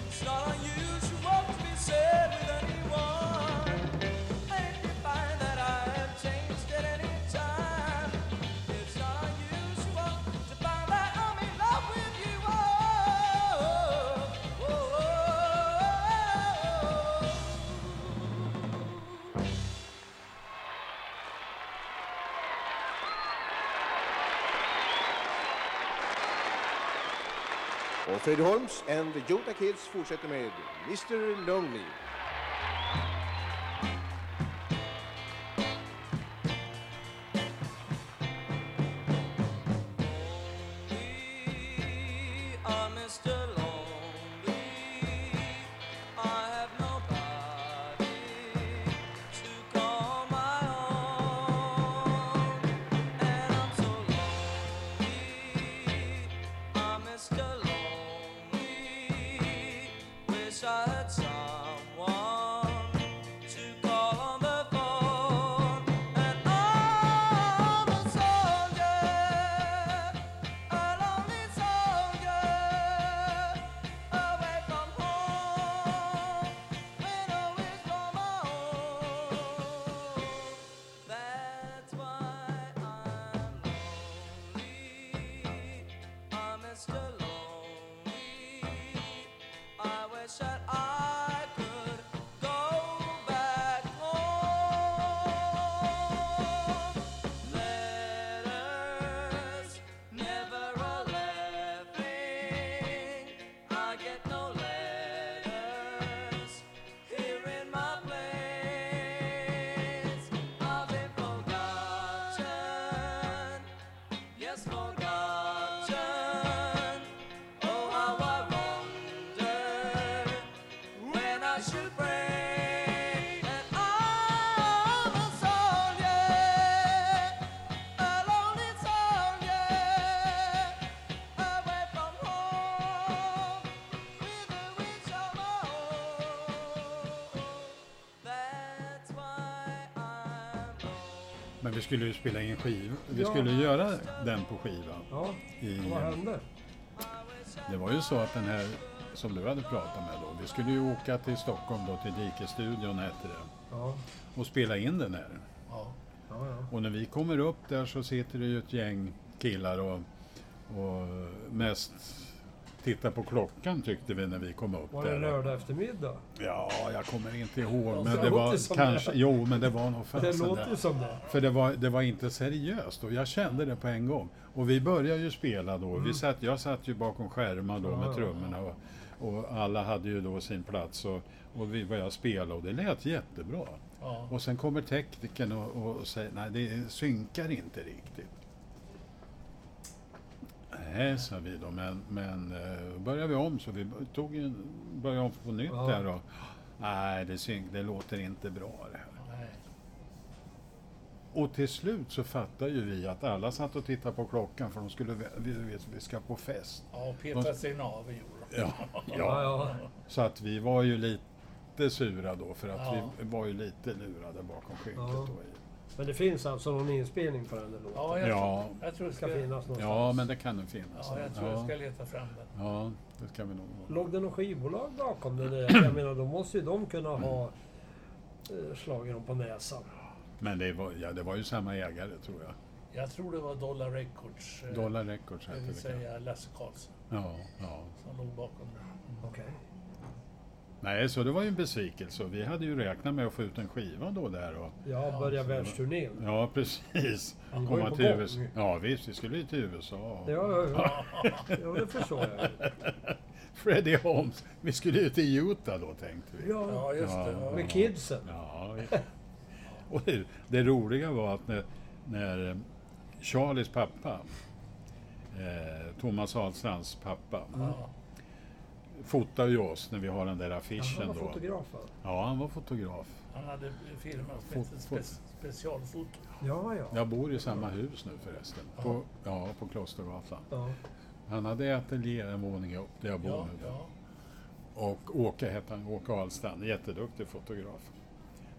Speaker 8: It's not unusual to be sad with anyone. And if you find that I have changed at any time, it's not unusual to find that I'm in love with you. oh.
Speaker 7: Och Fred Holmes and the Jota Kids fortsätter med Mr Lonely.
Speaker 8: I'm Mr. uh, Lonely. I have nobody to call my own, and I'm so lonely. I'm Mr. Lonely. Wish I had someone to call on the phone, and I'm a soldier. A lonely soldier away from home, window is from my own. That's why I'm lonely. I'm Mr. Lonely. I wish that I could go back home. Letters, never a laughing. I get no letters here in my place. I've been forgotten, yes, forgotten. Oh, how I wonder when I should pray that I'm a soldier, a lonely soldier, away from home, with a wish of my own. That's why I'm lonely.
Speaker 3: Men vi skulle ju spela in skiv. Vi
Speaker 2: Ja.
Speaker 3: skulle göra den på skiva.
Speaker 2: Ja,
Speaker 3: I,
Speaker 2: vad hände?
Speaker 3: det var ju så att den här som du hade pratat med då. Vi skulle ju åka till Stockholm då till Dikestudion hette det.
Speaker 2: Ja,
Speaker 3: Och spela in den här.
Speaker 1: Ja.
Speaker 2: ja, ja.
Speaker 3: Och när vi kommer upp där så sitter det ju ett gäng killar och, och mest tittar på klockan tyckte vi när vi kom upp
Speaker 2: Var det
Speaker 3: där.
Speaker 2: lördag eftermiddag?
Speaker 3: Ja, jag kommer inte ihåg.
Speaker 2: Det
Speaker 3: Men
Speaker 2: låter
Speaker 3: det var
Speaker 2: som
Speaker 3: kanske,
Speaker 2: det.
Speaker 3: jo, men det var nog
Speaker 2: Det
Speaker 3: fasen
Speaker 2: låter ju
Speaker 3: där.
Speaker 2: som det.
Speaker 3: För det var, det var inte seriöst och jag kände det på en gång. Och vi började ju spela då. Vi satt, jag satt ju bakom skärmar då med trummorna och, och alla hade ju då sin plats och, och vi började spela och det lät jättebra.
Speaker 1: Ja.
Speaker 3: Och sen kommer teknikern och, och säger nej det synkar inte riktigt. Nej, sa vi då, men, men eh, då började vi om så vi tog en, började om på nytt
Speaker 2: Ja.
Speaker 3: där och nej det, synk, det låter inte bra det här.
Speaker 1: Nej.
Speaker 3: Och till slut så fattade ju vi att alla satt och tittade på klockan för de skulle, vä- vi, vi, vi ska på fest.
Speaker 1: Ja, och peta sig av gjorde de.
Speaker 3: Ja,
Speaker 2: Ja,
Speaker 3: ja.
Speaker 2: ja.
Speaker 3: Så att vi var ju lite sura då för att
Speaker 1: Ja.
Speaker 3: vi var ju lite lurade bakom skynket
Speaker 2: Ja.
Speaker 3: då. i-
Speaker 2: Men det finns alltså någon inspelning på den där låten?
Speaker 1: Ja, jag,
Speaker 3: Ja.
Speaker 1: Tror, jag tror det
Speaker 2: Det ska
Speaker 1: ska,
Speaker 2: finnas någonstans.
Speaker 3: Ja, men det kan nog finnas.
Speaker 1: ja, jag tror jag
Speaker 3: ja.
Speaker 1: ska leta fram den.
Speaker 3: ja, det ska vi nog.
Speaker 2: Låg det något skivbolag bakom det där? Jag menar, då måste ju de kunna ha eh, slagit dem på näsan.
Speaker 3: Men det var, ja, det var ju samma ägare tror jag.
Speaker 1: Jag tror det var Dollar Records, eh,
Speaker 3: Dollar Records
Speaker 1: det
Speaker 3: hette
Speaker 1: vill
Speaker 3: det. kanske.
Speaker 1: säga Lasse Karlsson,
Speaker 3: Ja, ja.
Speaker 1: som låg bakom den.
Speaker 3: Mm.
Speaker 2: Okej.
Speaker 3: Nej, så det var ju en besvikelse. och Vi hade ju räknat med att få ut en skiva då där. Och,
Speaker 2: Ja, börja världsturnén.
Speaker 3: ja, precis.
Speaker 2: Ja, det var ju
Speaker 3: Komma
Speaker 2: på
Speaker 3: till
Speaker 2: gång.
Speaker 3: USA. Ja, visst. Vi skulle ju till USA.
Speaker 2: Ja, ja, ja. ja, det förstår jag.
Speaker 3: Freddie Holmes. Vi skulle ju till Utah då tänkte vi.
Speaker 2: Ja,
Speaker 1: Ja, just det.
Speaker 3: Ja.
Speaker 1: Ja.
Speaker 2: med kidsen.
Speaker 3: Ja, ja. och det, det roliga var att när, när eh, Charlies pappa, eh, Thomas Ahlstrands pappa,
Speaker 1: Ja.
Speaker 3: fotar ju oss när vi har den där affischen
Speaker 2: Han var
Speaker 3: då.
Speaker 2: fotograf va?
Speaker 3: Ja, han var fotograf.
Speaker 1: Han hade firma som
Speaker 3: Fot-
Speaker 1: hette
Speaker 3: fot-
Speaker 1: spe, Specialfoto.
Speaker 2: Ja, ja.
Speaker 3: Jag bor i samma hus nu förresten. På, ja, på Klostergatan.
Speaker 2: ja.
Speaker 3: Han hade ett ateljé en våning upp där jag bor
Speaker 1: Ja,
Speaker 3: nu. då.
Speaker 1: ja.
Speaker 3: Och Åke hette han, Åke Ahlstrand, jätteduktig fotograf.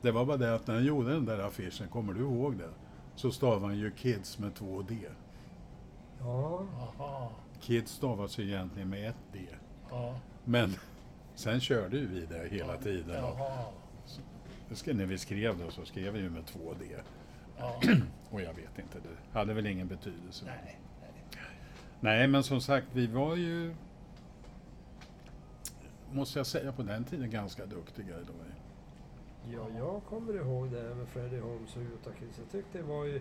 Speaker 3: Det var bara det att när han gjorde den där affischen, kommer du ihåg det? Så stavade han ju Kids med två D.
Speaker 2: ja.
Speaker 1: Aha.
Speaker 3: Kids stavas ju egentligen med ett D.
Speaker 1: Ja.
Speaker 3: Men sen körde ju vi det hela tiden. Och
Speaker 1: Jaha.
Speaker 3: det ska- när vi skrev det så skrev vi ju med två D.
Speaker 1: Ja.
Speaker 3: Och jag vet inte, det hade väl ingen betydelse.
Speaker 1: Nej.
Speaker 3: Nej, men som sagt, vi var ju, måste jag säga, på den tiden ganska duktiga. Då.
Speaker 2: Ja, jag kommer ihåg det här med Freddie Holmes och Utah Kids. Jag tyckte det var ju...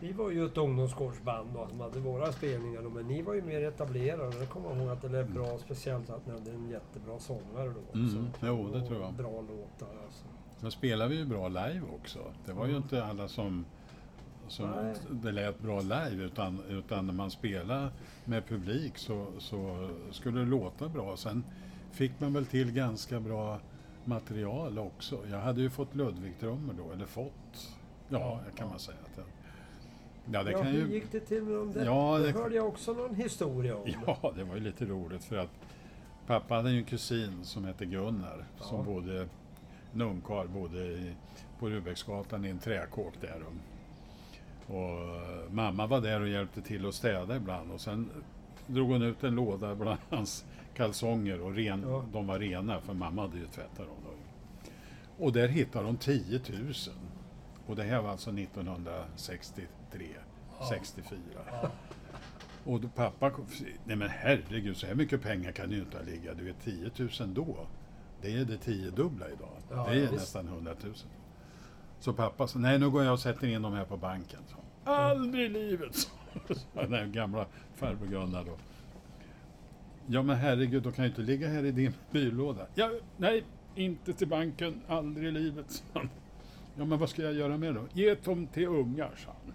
Speaker 2: Vi var ju ett ungdomsgårdsband och som hade våra spelningar då, men ni var ju mer etablerade. Jag kommer ihåg att det lät bra, speciellt att ni hade en jättebra sångare då också.
Speaker 3: Mm, jo, det
Speaker 2: Och
Speaker 3: tror jag.
Speaker 2: Bra låtar alltså.
Speaker 3: Sen spelade vi ju bra live också. Det var ju inte alla som, som
Speaker 2: Mm. Nej.
Speaker 3: det lät bra live utan, utan när man spelade med publik så, så skulle det låta bra. Sen fick man väl till ganska bra material också. Jag hade ju fått Ludwig-trummor då, eller fått, ja, kan man säga. att jag- Ja, det
Speaker 2: ja,
Speaker 3: kan
Speaker 2: hur
Speaker 3: ju...
Speaker 2: gick det till med de där?
Speaker 3: Ja,
Speaker 2: det
Speaker 3: det-
Speaker 2: hörde jag också någon historia om.
Speaker 3: Ja, det var ju lite roligt för att pappa hade ju en kusin som hette Gunnar som bodde, en ungkarl, bodde i, på Rudbecksgatan i en träkåk där. Och, och eh, mamma var där och hjälpte till att städa ibland och sen drog hon ut en låda bland hans kalsonger och ren,
Speaker 2: Ja.
Speaker 3: de var rena för mamma hade ju tvättat dem. Då. Och där hittade de 10 000. Och det här var alltså 1963, 64. Och då pappa, kom- nej men herregud, så här mycket pengar kan det ju inte ha ligga. Du vet 10 000 då, det är det tiodubbla idag.
Speaker 2: Ja,
Speaker 3: det är
Speaker 2: ja, visst.
Speaker 3: nästan 100 000. Så pappa sa, nej nu går jag och sätter in dem här på banken. Så, Aldrig i livet, sa den här gamla farbror Gunnar då. Ja men herregud, de kan ju inte ligga här i din byrålåda. Ja, nej, inte till banken, aldrig i livet, sa han. Ja men vad ska jag göra med dem? Ge dem till ungar, sa han.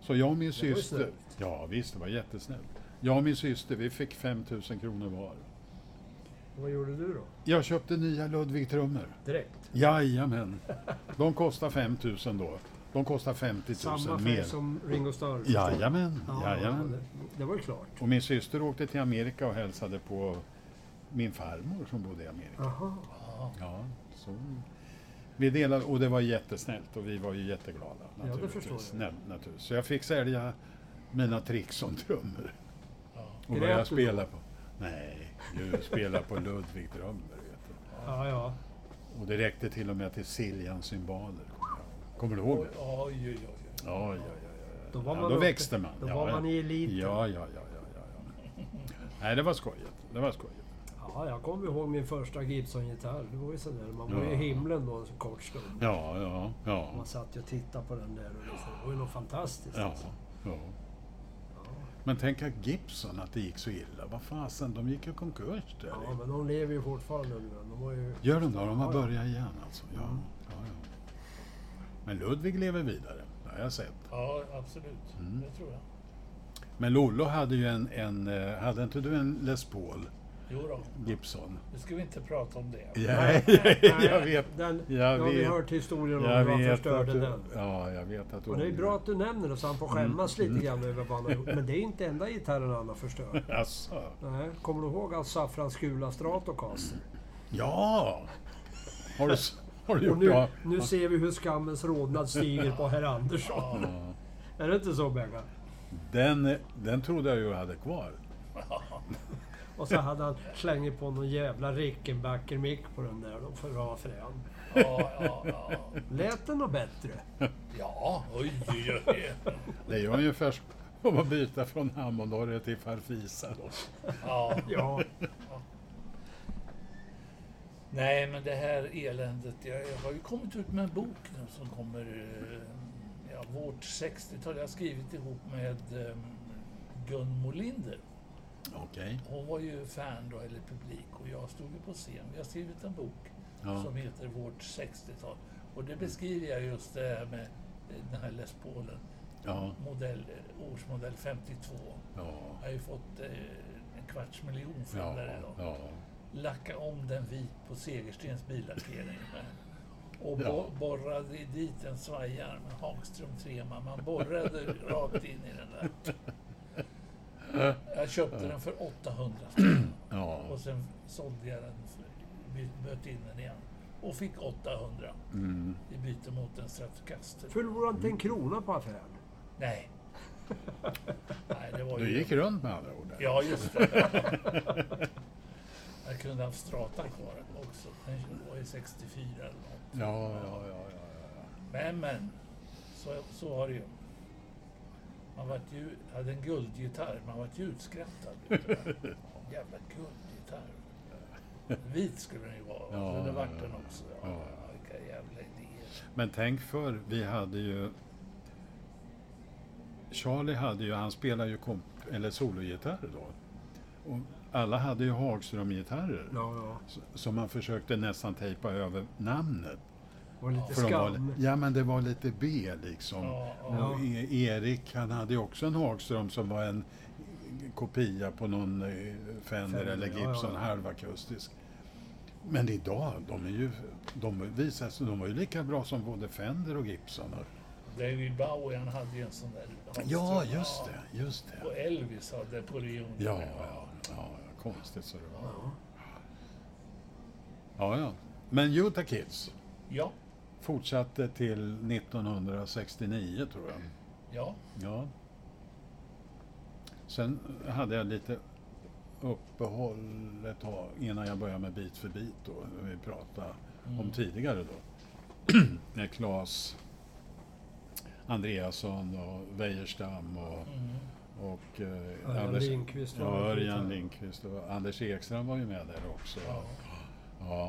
Speaker 3: Så jag och min
Speaker 2: ju
Speaker 3: syster...
Speaker 2: snällt.
Speaker 3: Ja visst, det var jättesnällt. Jag och min syster, vi fick 5 000 kronor var.
Speaker 2: Vad gjorde du då?
Speaker 3: Jag köpte nya Ludwig-trummor.
Speaker 2: Direkt?
Speaker 3: Jajamän. De kostar 5 000 då. De kostar 50 000
Speaker 2: Samma
Speaker 3: mer.
Speaker 2: färg som Ringo Starr?
Speaker 3: Jajamän,
Speaker 2: Ja,
Speaker 3: jajamän.
Speaker 2: det, det var ju klart.
Speaker 3: Och min syster åkte till Amerika och hälsade på min farmor som bodde i Amerika.
Speaker 2: Aha.
Speaker 3: Ja, så. Vi delade och det var jättesnällt och vi var ju jätteglada.
Speaker 2: det
Speaker 3: Naturligtvis.
Speaker 2: förstår jag.
Speaker 3: Nä- naturligtvis. Så jag fick sälja mina tricks som trummor. Och vad
Speaker 2: Grät
Speaker 3: jag
Speaker 2: du då?
Speaker 3: spelar på. Nej, jag spelar på Ludwig-trummor. vet du.
Speaker 2: Ja, ja.
Speaker 3: Och det räckte till och med till Siljans cymbaler. kommer jag ihåg. Kommer du ihåg det?
Speaker 1: Oj, oj, oj.
Speaker 3: Ja, ja, ja. ja.
Speaker 2: Då var
Speaker 3: Ja,
Speaker 2: man
Speaker 3: då
Speaker 2: uppe.
Speaker 3: växte man.
Speaker 2: Då
Speaker 3: ja,
Speaker 2: var
Speaker 3: ja.
Speaker 2: man i eliten.
Speaker 3: Ja, ja, ja, ja, ja, ja. Nej, det var skojigt. Det var skojigt.
Speaker 2: Ja, jag kommer ihåg min första Gibson-gitarr. Det var ju sådär, man var ju i
Speaker 3: Ja.
Speaker 2: himlen då en så kort stund.
Speaker 3: Ja, ja, ja.
Speaker 2: Man satt ju och tittade på den där och liksom, det var ju något fantastiskt.
Speaker 3: Ja,
Speaker 2: alltså.
Speaker 3: ja. Men tänk att Gibson, att det gick så illa. Vad fasen, de gick ju konkurs där.
Speaker 2: ja, men de lever ju fortfarande nu. De var ju...
Speaker 3: Gör de då? De har
Speaker 2: Ja, Mm. ja.
Speaker 3: börjat igen alltså. Ja, ja, ja. Men Ludvig lever vidare, det har jag sett.
Speaker 1: Ja, absolut.
Speaker 3: Mm.
Speaker 1: Det tror jag.
Speaker 3: Men Lollo hade ju en, en eh, hade inte du en Les Paul?
Speaker 1: Jo då,
Speaker 3: Gibson.
Speaker 1: nu ska vi inte prata om det.
Speaker 3: Ja, jag vet.
Speaker 2: Den,
Speaker 3: Jag
Speaker 2: jag har vi
Speaker 3: vet.
Speaker 2: hört historien om
Speaker 3: Jag
Speaker 2: hur han
Speaker 3: vet
Speaker 2: förstörde
Speaker 3: att Mm. du,
Speaker 2: den.
Speaker 3: Ja, jag vet att du
Speaker 2: Och det är
Speaker 3: ångrar
Speaker 2: bra att du nämner det så han får skämmas lite grann över vad han har gjort. Men det är inte enda gitarren han har förstört.
Speaker 3: dig. Alltså.
Speaker 2: Nej, kommer du ihåg alls Saffrans gula Stratocaster?
Speaker 3: Ja! Har du, s- har du
Speaker 2: Och
Speaker 3: gjort
Speaker 2: nu,
Speaker 3: det?
Speaker 2: nu ser vi hur skammens rodnad stiger på herr Andersson. Är det inte så Benga?
Speaker 3: Den, eh, den trodde jag ju jag hade kvar.
Speaker 2: Och så hade han slängit på någon jävla Rickenbacker-mick på den där då för att vara frän.
Speaker 1: Ja, ja, ja.
Speaker 2: Lät den något bättre?
Speaker 1: ja oj, oj, oj.
Speaker 3: Det är ungefär som om att byta från Hammondorre till Farfisa. Då.
Speaker 1: Ja.
Speaker 2: Ja.
Speaker 1: Nej, men det här eländet. Jag, jag har ju kommit ut med en bok nu som kommer... eh, Ja, vårt 60-tal. Jag har skrivit ihop med eh, Gun Molinder.
Speaker 3: Okej.
Speaker 1: Hon var ju fan då, eller publik, och jag stod ju på scen. Vi har skrivit en bok
Speaker 3: Ja.
Speaker 1: som heter Vårt 60-tal. Och det beskriver jag just det här med eh, den här Les Paulen,
Speaker 3: Ja.
Speaker 1: modell, eh, årsmodell 52.
Speaker 3: Ja.
Speaker 1: Jag har ju fått eh, en kvarts miljon för den
Speaker 3: Ja.
Speaker 1: där idag.
Speaker 3: ja.
Speaker 1: Lacka om den vit på Segerstens billackering. Och
Speaker 3: Ja.
Speaker 1: bo- borrade i dit en svajarm, en Hagström Trema. Man borrade rakt in i den där. Jag köpte den för 800 spänn.
Speaker 3: ja.
Speaker 1: Och sen sålde jag den, för- by- böt in den igen. Och fick 800
Speaker 3: Mm.
Speaker 1: i byte mot en Stratocaster.
Speaker 2: Förlorade inte en krona på affären.
Speaker 1: Nej. Nej, det var
Speaker 3: Du
Speaker 1: ju...
Speaker 3: gick runt med andra ord. där.
Speaker 1: Ja, just det. Jag kunde haft Strata kvar också. Den var ju 64 eller något.
Speaker 3: Ja, ja, ja, ja, ja.
Speaker 1: Men, men. Så, så var det ju. Man vart ju, hade en guldgitarr, man vart ju utskrattad. vet du. Jävla guldgitarr. Vit skulle den ju vara,
Speaker 3: Ja,
Speaker 1: så det vart
Speaker 3: ja,
Speaker 1: den också. Ja,
Speaker 3: ja.
Speaker 1: Vilka jävla idéer.
Speaker 3: Men tänk för, vi hade ju... Charlie hade ju, han spelade ju komp, eller sologitarr då. Och alla hade ju Hagström-gitarrer.
Speaker 2: Ja, ja.
Speaker 3: S- Som man försökte nästan tejpa över namnet.
Speaker 2: Var lite
Speaker 3: För de var,
Speaker 2: skam.
Speaker 3: li- ja men det var lite B liksom.
Speaker 1: Ja,
Speaker 3: Och E- Erik han hade ju också en Hagström som var en kopia på någon eh, Fender,
Speaker 2: Fender,
Speaker 3: eller
Speaker 2: ja,
Speaker 3: Gibson
Speaker 2: ja.
Speaker 3: halvakustisk. Men idag, de är ju, de visar sig, de var ju lika bra som både Fender och Gibson.
Speaker 1: David Bowie, han hade ju en sån där.
Speaker 3: Ja, just det, just det.
Speaker 1: Och Elvis hade på Rion.
Speaker 3: Ja, ja, ja, konstigt så det var. Ja, ja. Men Utah Kids
Speaker 1: Ja,
Speaker 3: fortsatte till 1969 tror jag.
Speaker 1: ja.
Speaker 3: Ja. Sen hade jag lite uppehåll ett tag innan jag började med bit för bit då, när vi pratade om tidigare då. När Claes Andreasson och Wejerstam och, och eh,
Speaker 2: Örjan Lindqvist var
Speaker 3: ja,
Speaker 2: med på
Speaker 3: Örjan
Speaker 2: gitarr.
Speaker 3: Lindqvist och Anders Ekström var ju med där också. Ja.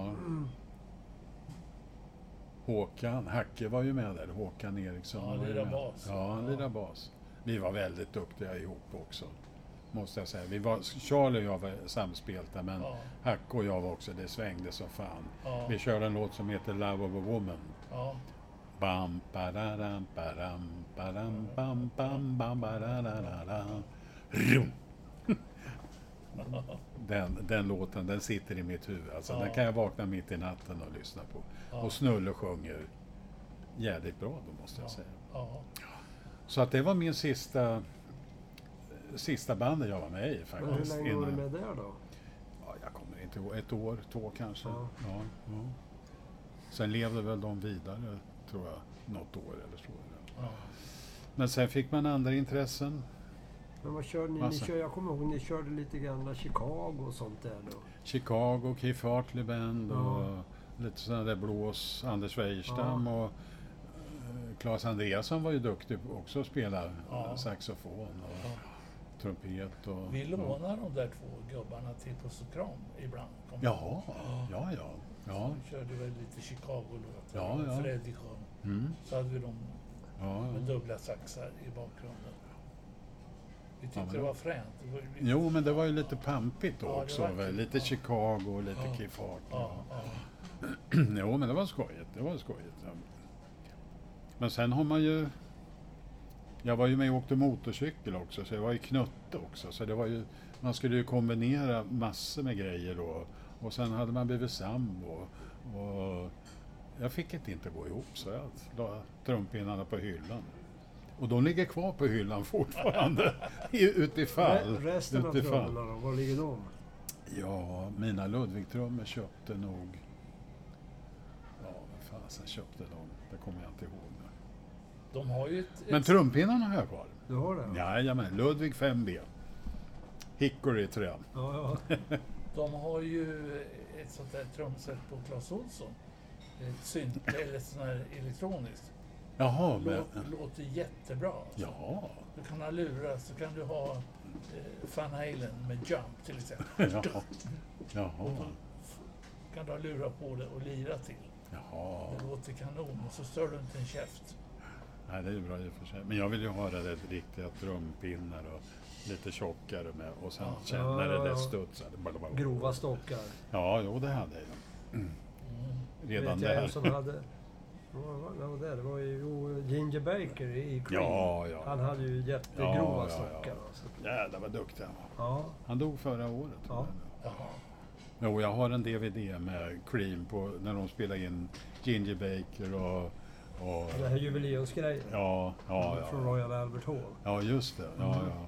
Speaker 3: Håkan Hacke var ju med där, Håkan Eriksson.
Speaker 1: Ja,
Speaker 3: var ju
Speaker 1: lirade
Speaker 3: med.
Speaker 1: bas.
Speaker 3: Ja, han lirade bas. Vi var väldigt duktiga ihop också. Måste jag säga. Vi var, Charlie och jag var samspelta men
Speaker 1: Ja.
Speaker 3: Hacke och jag var också, det svängde som fan.
Speaker 1: Ja.
Speaker 3: Vi körde en låt som heter Love of a Woman.
Speaker 1: ja.
Speaker 3: Bam, pararam, param, param, bam, bam, bam, barararara. Rum. Den, den låten, den sitter i mitt huvud. Alltså, Den kan jag vakna mitt i natten och lyssna på. Och Snulle sjunger jävligt bra då, måste jag säga.
Speaker 1: ja.
Speaker 3: Så att det var min sista, sista bandet jag var med i
Speaker 2: Men hur
Speaker 3: faktiskt.
Speaker 2: länge var du med där då?
Speaker 3: Ja, jag kommer inte ihåg, ett år, två kanske.
Speaker 2: Ja.
Speaker 3: Ja. Ja, Sen levde väl de vidare, tror jag, något år eller så.
Speaker 1: Ja.
Speaker 3: Men sen fick man andra intressen.
Speaker 2: Men vad körde ni? ni
Speaker 3: Massa.
Speaker 2: kör, jag kommer ihåg ni körde lite gamla Chicago och sånt där då.
Speaker 3: Chicago, Keith Hartley Band
Speaker 2: Ja.
Speaker 3: och lite sådana där blås, Anders Weijerstam och eh, Claes Andreasson var ju duktig på också att spela eh, saxofon och trumpet och...
Speaker 1: Vi
Speaker 3: och-
Speaker 1: lånar de där två gubbarna till Puss och Kram ibland. Kom.
Speaker 3: Jaha, ja, ja. ja.
Speaker 1: Vi körde väl lite Chicago-låtar.
Speaker 3: Ja, ja. Mm.
Speaker 1: Freddy sjöng. Så hade vi dem
Speaker 3: ja,
Speaker 1: med
Speaker 3: ja.
Speaker 1: dubbla saxar i bakgrunden. Vi tyckte
Speaker 3: men
Speaker 1: det
Speaker 3: det-
Speaker 1: var fränt. Det var ju lite-
Speaker 3: Jo, men det var ju lite pampigt då
Speaker 1: Ja, det
Speaker 3: också.
Speaker 1: var det.
Speaker 3: väl? Lite Chicago och lite Keith Hartley.
Speaker 1: Ja, ja.
Speaker 3: Jo, men det var skojigt. Det var skojigt. ja. Men sen har man ju... Jag var ju med och åkte motorcykel också, så jag var ju knutte också. Så det var ju, man skulle ju kombinera massor med grejer då. Och sen hade man blivit sambo. Och jag fick det inte gå ihop, så jag la trumpinnarna på hyllan. Och de ligger kvar på hyllan fortfarande. I- Utifall.
Speaker 2: Re- Resten av
Speaker 3: utifall.
Speaker 2: trummorna då, var ligger de?
Speaker 3: Ja, mina Ludwig-trummor köpte nog... Ja, vad fasen köpte de? Det kommer jag inte ihåg. nu.
Speaker 1: De har ju ett...
Speaker 3: Men trumpinnarna har jag kvar.
Speaker 2: Du har det?
Speaker 3: Jajamän, Ludwig 5B. Hickory 3.
Speaker 2: Ja, ja.
Speaker 1: De har ju ett sånt där trumset på Clas Ohlson. Ett synt, eller sånt här elektroniskt.
Speaker 3: Jaha, men...
Speaker 1: Lå- Låter jättebra. alltså.
Speaker 3: Ja.
Speaker 1: Du kan ha lurar, så kan du ha eh, Van Halen med Jump till exempel.
Speaker 3: ja. Jaha.
Speaker 1: kan du ha lurar på det och lira till.
Speaker 3: Jaha.
Speaker 1: Det låter kanon och så stör du inte en käft.
Speaker 3: Nej, det är ju bra i och för sig. Men jag vill ju ha det där riktiga trumpinnar och lite tjockare med och sen känna
Speaker 2: ja,
Speaker 3: det där
Speaker 2: ja.
Speaker 3: studsar. Blablabla.
Speaker 2: Grova stockar.
Speaker 3: Ja, jo, det hade jag. ju. Redan
Speaker 2: Vet jag en
Speaker 3: där.
Speaker 2: som hade... Vad var- vad var det? Det var ju jo, Ginger Baker i Queen.
Speaker 3: Ja, ja.
Speaker 2: Han hade ju jättegrova
Speaker 3: Ja, ja,
Speaker 2: stockar.
Speaker 3: ja.
Speaker 2: Alltså.
Speaker 3: Jävlar vad duktig han var.
Speaker 2: Ja.
Speaker 3: Han dog förra året.
Speaker 2: Ja.
Speaker 3: Jo, jag har en DVD med Cream på när de spelar in Ginger Baker och... och
Speaker 2: Den här jubileumsgrejen
Speaker 3: ja, ja,
Speaker 2: från Mm.
Speaker 3: ja.
Speaker 2: Royal Albert Hall.
Speaker 3: Ja, just det. Ja, ja.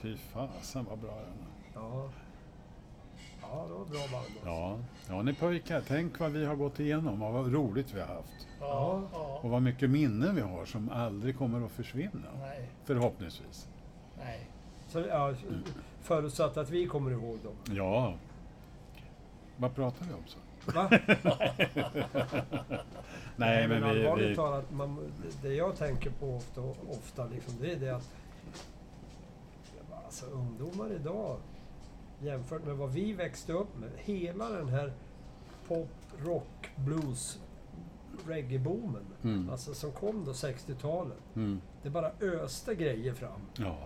Speaker 3: Fy fasen vad bra den är.
Speaker 2: Ja. Ja, det var bra band. Alltså.
Speaker 3: Ja. ja, ni pojkar, tänk vad vi har gått igenom och vad roligt vi har haft.
Speaker 1: Ja, ja.
Speaker 3: Och vad mycket minnen vi har som aldrig kommer att försvinna.
Speaker 1: Nej,
Speaker 3: Förhoppningsvis.
Speaker 1: nej.
Speaker 2: Så, ja, förutsatt att vi kommer ihåg dem.
Speaker 3: Ja. Vad pratar vi om så?
Speaker 2: Va?
Speaker 3: Nej, men vi...
Speaker 2: allvarligt
Speaker 3: vi
Speaker 2: talat, man, det jag tänker på ofta, ofta liksom, det är det att alltså, ungdomar idag jämfört med vad vi växte upp med, hela den här pop, rock, blues, reggae-boomen
Speaker 3: Mm.
Speaker 2: alltså, som kom då 60-talet.
Speaker 3: mm,
Speaker 2: Det bara öste grejer fram.
Speaker 3: ja.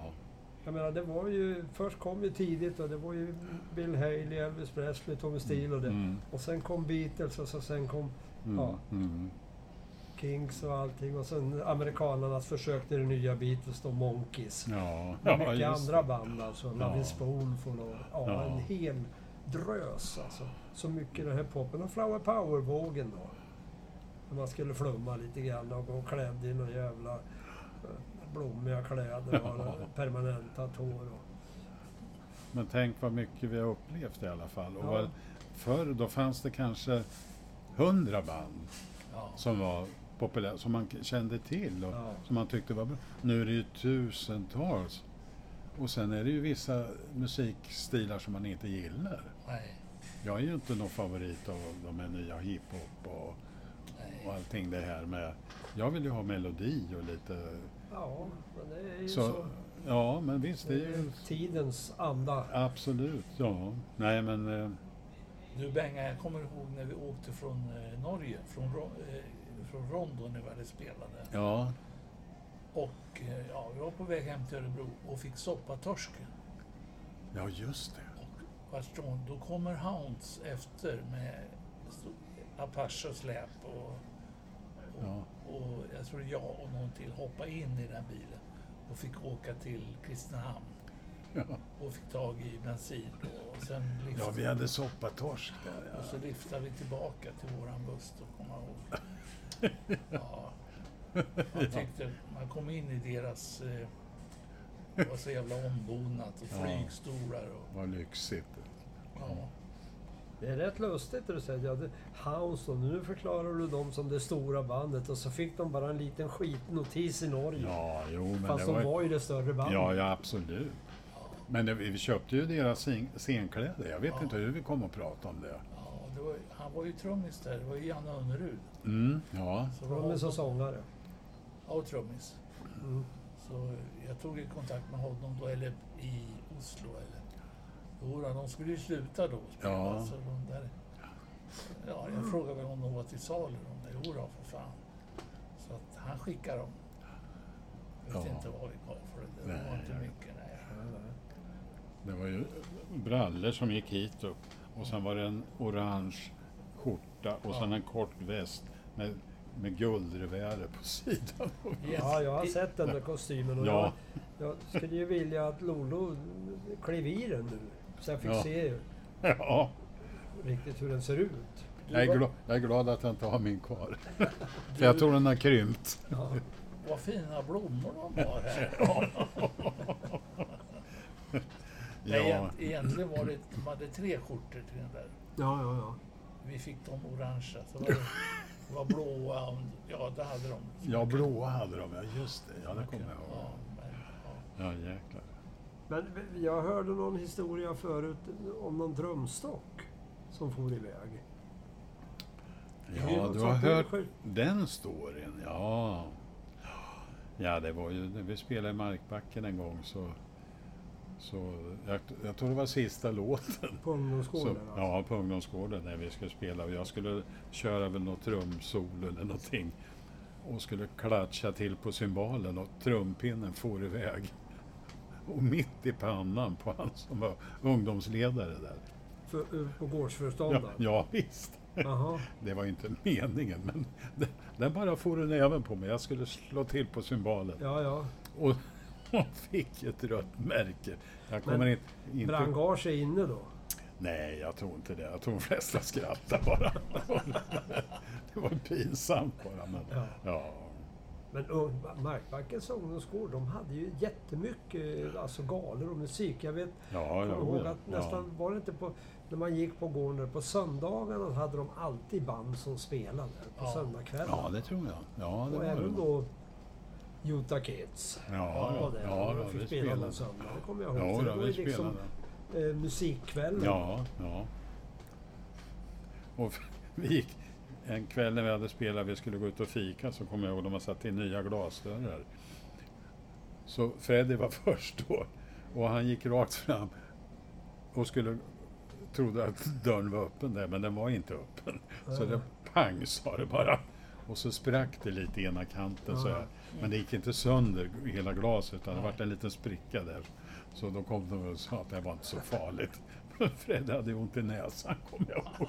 Speaker 2: Jag menar, det var ju, först kom ju tidigt och det var ju Bill Haley, Elvis Presley, Tommy Steele och det.
Speaker 3: Mm,
Speaker 2: Och sen kom Beatles och så sen kom
Speaker 3: mm,
Speaker 2: Ja.
Speaker 3: mm.
Speaker 2: Kings och allting och sen amerikanernas försök till det nya Beatles då, Monkeys.
Speaker 3: Ja,
Speaker 2: Ja,
Speaker 3: ja,
Speaker 2: mycket
Speaker 3: just
Speaker 2: andra
Speaker 3: det.
Speaker 2: band alltså,
Speaker 3: Ja.
Speaker 2: Lovin' Spoonful och ja,
Speaker 3: Ja.
Speaker 2: en hel drös alltså. Så mycket den här popen och Flower Power-vågen då. När man skulle flumma lite grann och gå klädd i några jävla eh, blommiga kläder och permanentat hår. Och,
Speaker 3: Men tänk vad mycket vi har upplevt i alla fall. Och
Speaker 2: Ja.
Speaker 3: vad, förr då fanns det kanske hundra band
Speaker 1: Ja.
Speaker 3: som var populära, som man k- kände till och
Speaker 2: Ja.
Speaker 3: som man tyckte var bra. Nu är det ju tusentals. Och sen är det ju vissa musikstilar som man inte gillar.
Speaker 1: Nej,
Speaker 3: Jag är ju inte någon favorit av de här nya hiphop och, och allting det här med. Jag vill ju ha melodi och lite...
Speaker 2: ja, men det är ju så.
Speaker 3: Så, ja, men visst, det är
Speaker 2: Det är
Speaker 3: ju...
Speaker 2: tidens anda.
Speaker 3: Absolut, ja. Nej, men... Eh,
Speaker 1: Du Benga, jag kommer ihåg när vi åkte från eh, Norge, från, Ro- eh, från Rondo när vi hade spelade.
Speaker 3: ja.
Speaker 1: Och eh, ja, vi var på väg hem till Örebro och fick soppatörsken.
Speaker 3: Ja, just det.
Speaker 1: Vartstånd, då kommer Hounds efter med sto- Apache och släp och, och,
Speaker 3: Ja.
Speaker 1: och jag tror jag och någon till hoppade in i den bilen och fick åka till Kristinehamn
Speaker 3: Ja,
Speaker 1: och fick tag i bensin då. och sen
Speaker 3: ja
Speaker 1: liftade
Speaker 3: vi hade soppatorsk där.
Speaker 1: och så liftade vi tillbaka till våran buss då, kommer jag ihåg. Ja. Man tyckte, man kom in i deras, eh, det var så jävla ombonat och
Speaker 3: Ja.
Speaker 1: flygstolar och
Speaker 3: Vad lyxigt.
Speaker 1: ja.
Speaker 2: Det är rätt lustigt det du säger. Ja, det, House och nu förklarar du dem som det stora bandet och så fick de bara en liten skitnotis i Norge.
Speaker 3: Ja, jo, men
Speaker 2: Fast
Speaker 3: det
Speaker 2: de
Speaker 3: var...
Speaker 2: var ju det större bandet.
Speaker 3: Ja, ja, absolut. Men det, vi köpte ju deras scen- scenkläder. Jag vet inte hur vi kom att prata om det.
Speaker 1: Ja, det var, han var ju trummis där, det var ju Janne Önnerud.
Speaker 3: Mm, ja.
Speaker 1: Så
Speaker 2: De är som sångare.
Speaker 1: Ja, och trummis. Så jag tog i kontakt med honom då, eller i Oslo. Eller. Jodå, de skulle ju sluta då spela.
Speaker 3: Ja.
Speaker 1: Så de där, ja, jag frågade väl om de var till salu. De där, Jodå, för fan. Så att han skickade dem. Jag vet
Speaker 3: Ja.
Speaker 1: inte vad vi gav för det. Det var
Speaker 3: Nej,
Speaker 1: inte
Speaker 3: jag vet
Speaker 1: mycket. Nej.
Speaker 3: Det var ju brallor som gick hit upp och sen var det en orange skjorta och sen en kort väst med med guldrevärer på sidan.
Speaker 1: Yes.
Speaker 9: Ja, jag har sett den där kostymen och
Speaker 3: Ja.
Speaker 9: jag, jag skulle ju vilja att Lolo klev i den nu. Så jag fick
Speaker 3: Ja.
Speaker 9: se
Speaker 3: Ja,
Speaker 9: riktigt hur den ser ut.
Speaker 3: jag är, glad, jag är glad att jag inte har min kvar. För jag tror den har krympt.
Speaker 1: Vad fina blommor de har här. Nej,
Speaker 3: Ja,
Speaker 1: egent- egentligen var det, de hade tre skjortor till den där.
Speaker 2: Ja, ja, ja.
Speaker 1: Vi fick de orangea, så var det, det var blåa. och- Ja, det hade de.
Speaker 3: ja blåa hade de, ja just det. Ja, det kommer jag ihåg.
Speaker 1: Ja, men, ja.
Speaker 3: Ja, jäklar.
Speaker 2: Men jag hörde någon historia förut om någon drömstock som for iväg.
Speaker 3: Ja,
Speaker 2: Hur-
Speaker 3: du
Speaker 2: så
Speaker 3: har
Speaker 2: att det är
Speaker 3: hört
Speaker 2: sjukt.
Speaker 3: den storyn, ja. Ja, det var ju när vi spelade i Markbacken en gång så... så jag, jag tror det var sista låten.
Speaker 2: På
Speaker 3: Så,
Speaker 2: ungdomsgården alltså.
Speaker 3: ja, på ungdomsgården när vi skulle spela och jag skulle köra väl något trumsolo eller någonting och skulle klatscha till på cymbalen och trumpinnen for iväg. Och mitt i pannan på han som var ungdomsledare där.
Speaker 2: För, eh,
Speaker 9: På
Speaker 3: Ja,
Speaker 9: gårdsföreståndaren.
Speaker 3: ja visst.
Speaker 9: Jaha.
Speaker 3: Det var inte meningen, men den, den bara for en även på mig. Jag skulle slå till på cymbalen
Speaker 9: Ja, ja.
Speaker 3: och, och fick ett rött märke. Jag kommer inte... inte
Speaker 9: Brandgage är inne då.
Speaker 3: Nej, jag tror inte det. Jag tror de flesta skrattar bara. det var pinsamt bara. Men,
Speaker 9: Ja.
Speaker 3: ja.
Speaker 9: Men ung- Markbackens ungdomsgård, de hade ju jättemycket alltså, galor och musik. Jag vet,
Speaker 3: Ja,
Speaker 9: kommer
Speaker 3: ja,
Speaker 9: ihåg
Speaker 3: ja.
Speaker 9: att nästan, var det inte på, när man gick på gården där på söndagarna så hade de alltid band som spelade på
Speaker 1: Ja.
Speaker 9: söndagskvällen.
Speaker 3: ja, det tror jag. Ja, det
Speaker 9: och
Speaker 3: var
Speaker 9: även
Speaker 3: det.
Speaker 9: då Utah Kids.
Speaker 3: Ja, ja,
Speaker 9: det,
Speaker 3: ja,
Speaker 9: de
Speaker 3: ja,
Speaker 9: fick
Speaker 3: vi
Speaker 9: spela någon
Speaker 3: spelade.
Speaker 9: söndag, det kommer jag ihåg.
Speaker 3: Ja,
Speaker 9: För det
Speaker 3: då,
Speaker 9: var ju
Speaker 3: vi spelade.
Speaker 9: eh, musikkvällen.
Speaker 3: Ja, ja. Och vi gick en kväll när vi hade spelat, vi skulle gå ut och fika, så kommer jag ihåg de har satt in nya glasdörrar. Så Freddy var först då och han gick rakt fram och skulle trodde att dörren var öppen där, men den var inte öppen. Så det pang sa det bara. Och så sprack det lite i ena kanten så här. Men det gick inte sönder hela glaset utan det var en liten spricka där. Så då kom de och sa att det var inte så farligt. Fred hade ju ont i näsan kommer jag ihåg.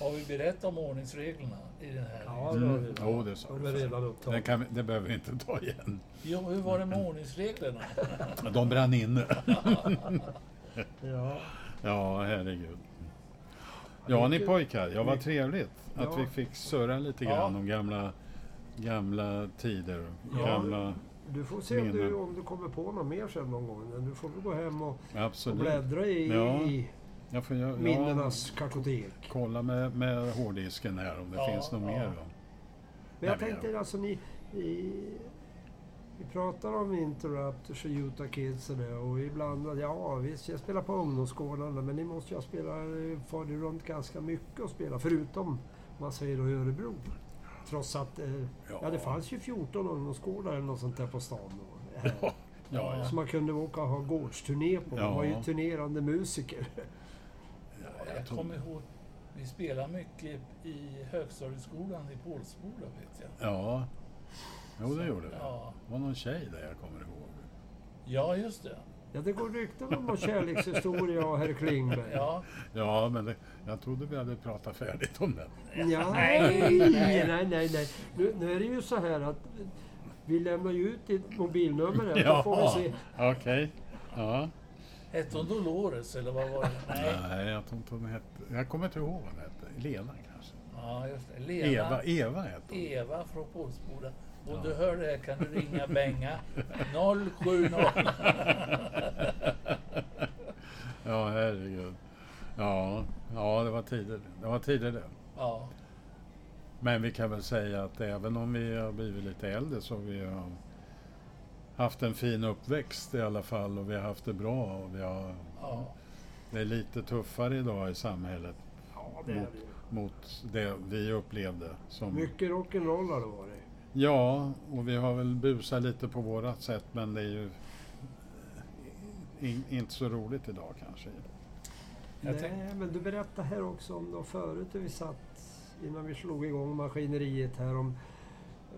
Speaker 1: Har vi berättat om ordningsreglerna i den här?
Speaker 9: Ja, det var det.
Speaker 3: Jo, det sa
Speaker 9: De är redan upptagna.
Speaker 3: Mm. det, kan vi, det behöver vi inte ta igen.
Speaker 1: Ja, hur var det med ordningsreglerna?
Speaker 3: De brann inne.
Speaker 9: Ja.
Speaker 3: Ja, herregud. Ja, ni pojkar. Ja, vad trevligt att
Speaker 2: Ja.
Speaker 3: vi fick surra lite
Speaker 1: Ja.
Speaker 3: grann om gamla, gamla tider.
Speaker 2: Ja.
Speaker 3: Gamla,
Speaker 2: Du får se om du,
Speaker 3: Minnen.
Speaker 2: om du kommer på något mer sen någon gång. Men Du får väl gå hem och, och alltså.
Speaker 3: absolut.
Speaker 2: bläddra i,
Speaker 3: Ja.
Speaker 2: i
Speaker 3: Jag får jag, ja,
Speaker 2: minnenas kartotek.
Speaker 3: kolla med, med hårddisken här om det
Speaker 1: Ja,
Speaker 3: finns något
Speaker 1: ja.
Speaker 3: mer.
Speaker 2: Men
Speaker 3: Då.
Speaker 2: jag
Speaker 3: Nej, men-
Speaker 2: tänkte alltså ni... I, vi pratar om Interrupters och Utah Kids och det och ibland, ja visst jag spelar på ungdomsgårdarna men ni måste jag spela, far du runt ganska mycket och spela förutom om man säger då i Örebro. Trots att, eh, ja. det fanns ju 14 ungdomsgårdar eller något sånt där på stan då. här.
Speaker 3: Ja, ja.
Speaker 2: Som man kunde åka och ha gårdsturné på. Man
Speaker 3: Ja.
Speaker 2: var ju turnerande musiker.
Speaker 1: Jag kommer ihåg, vi spelade mycket i högstadieskolan i Pålsboda vet jag.
Speaker 3: ja. Jo, det gjorde vi.
Speaker 1: Ja,
Speaker 3: Det var någon tjej där jag kommer ihåg.
Speaker 1: ja just det.
Speaker 2: Ja, det går rykten om någon kärlekshistoria och herr Klingberg.
Speaker 1: Ja,
Speaker 3: Ja, men det, jag trodde vi hade pratat färdigt om den.
Speaker 2: Ja, nej, nej, nej. nej. Nu, nu är det ju så här att vi lämnar ju ut ditt mobilnummer här, så får vi se.
Speaker 3: okej. Ja.
Speaker 1: hette hon Dolores eller vad var det? Nej,
Speaker 3: Nej, jag tror inte hon hette... Jag kommer inte ihåg vad hon hette. Lena kanske?
Speaker 1: ja, just det.
Speaker 3: Eva,
Speaker 1: Lena,
Speaker 3: Eva hette hon.
Speaker 1: Eva från Pålsboda. Om du hör det här kan du ringa Benga 070.
Speaker 3: Ja, herregud. Ja, ja, det var tider det. var tider det.
Speaker 1: Ja,
Speaker 3: Men vi kan väl säga att även om vi har blivit lite äldre så har vi har haft en fin uppväxt i alla fall och vi har haft det bra. Och vi har,
Speaker 1: ja.
Speaker 3: det är lite tuffare idag i samhället
Speaker 2: Ja, det är det. ju.
Speaker 3: mot det vi upplevde. Som,
Speaker 2: Mycket rock'n'roll har det varit.
Speaker 3: Ja, och vi har väl busat lite på vårat sätt men det är ju in, inte så roligt idag kanske.
Speaker 1: Jag
Speaker 2: Nej,
Speaker 1: tänkte-
Speaker 2: men du berättade här också om då förut när vi satt innan vi slog igång maskineriet här om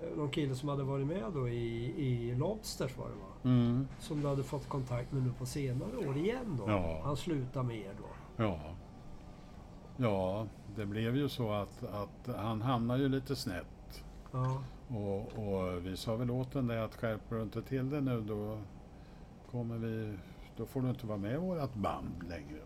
Speaker 2: eh, någon kille som hade varit med då i, i Lobsters var det va?
Speaker 3: Mm.
Speaker 2: Som du hade fått kontakt med nu på senare år igen då.
Speaker 3: Ja.
Speaker 2: Han slutade med er då.
Speaker 3: Ja. Ja, det blev ju så att, att han hamnade ju lite snett.
Speaker 9: Ja.
Speaker 3: Och, och vi sa väl åt den där att skärper du inte till det nu då kommer vi... Då får du inte vara med i vårat band längre.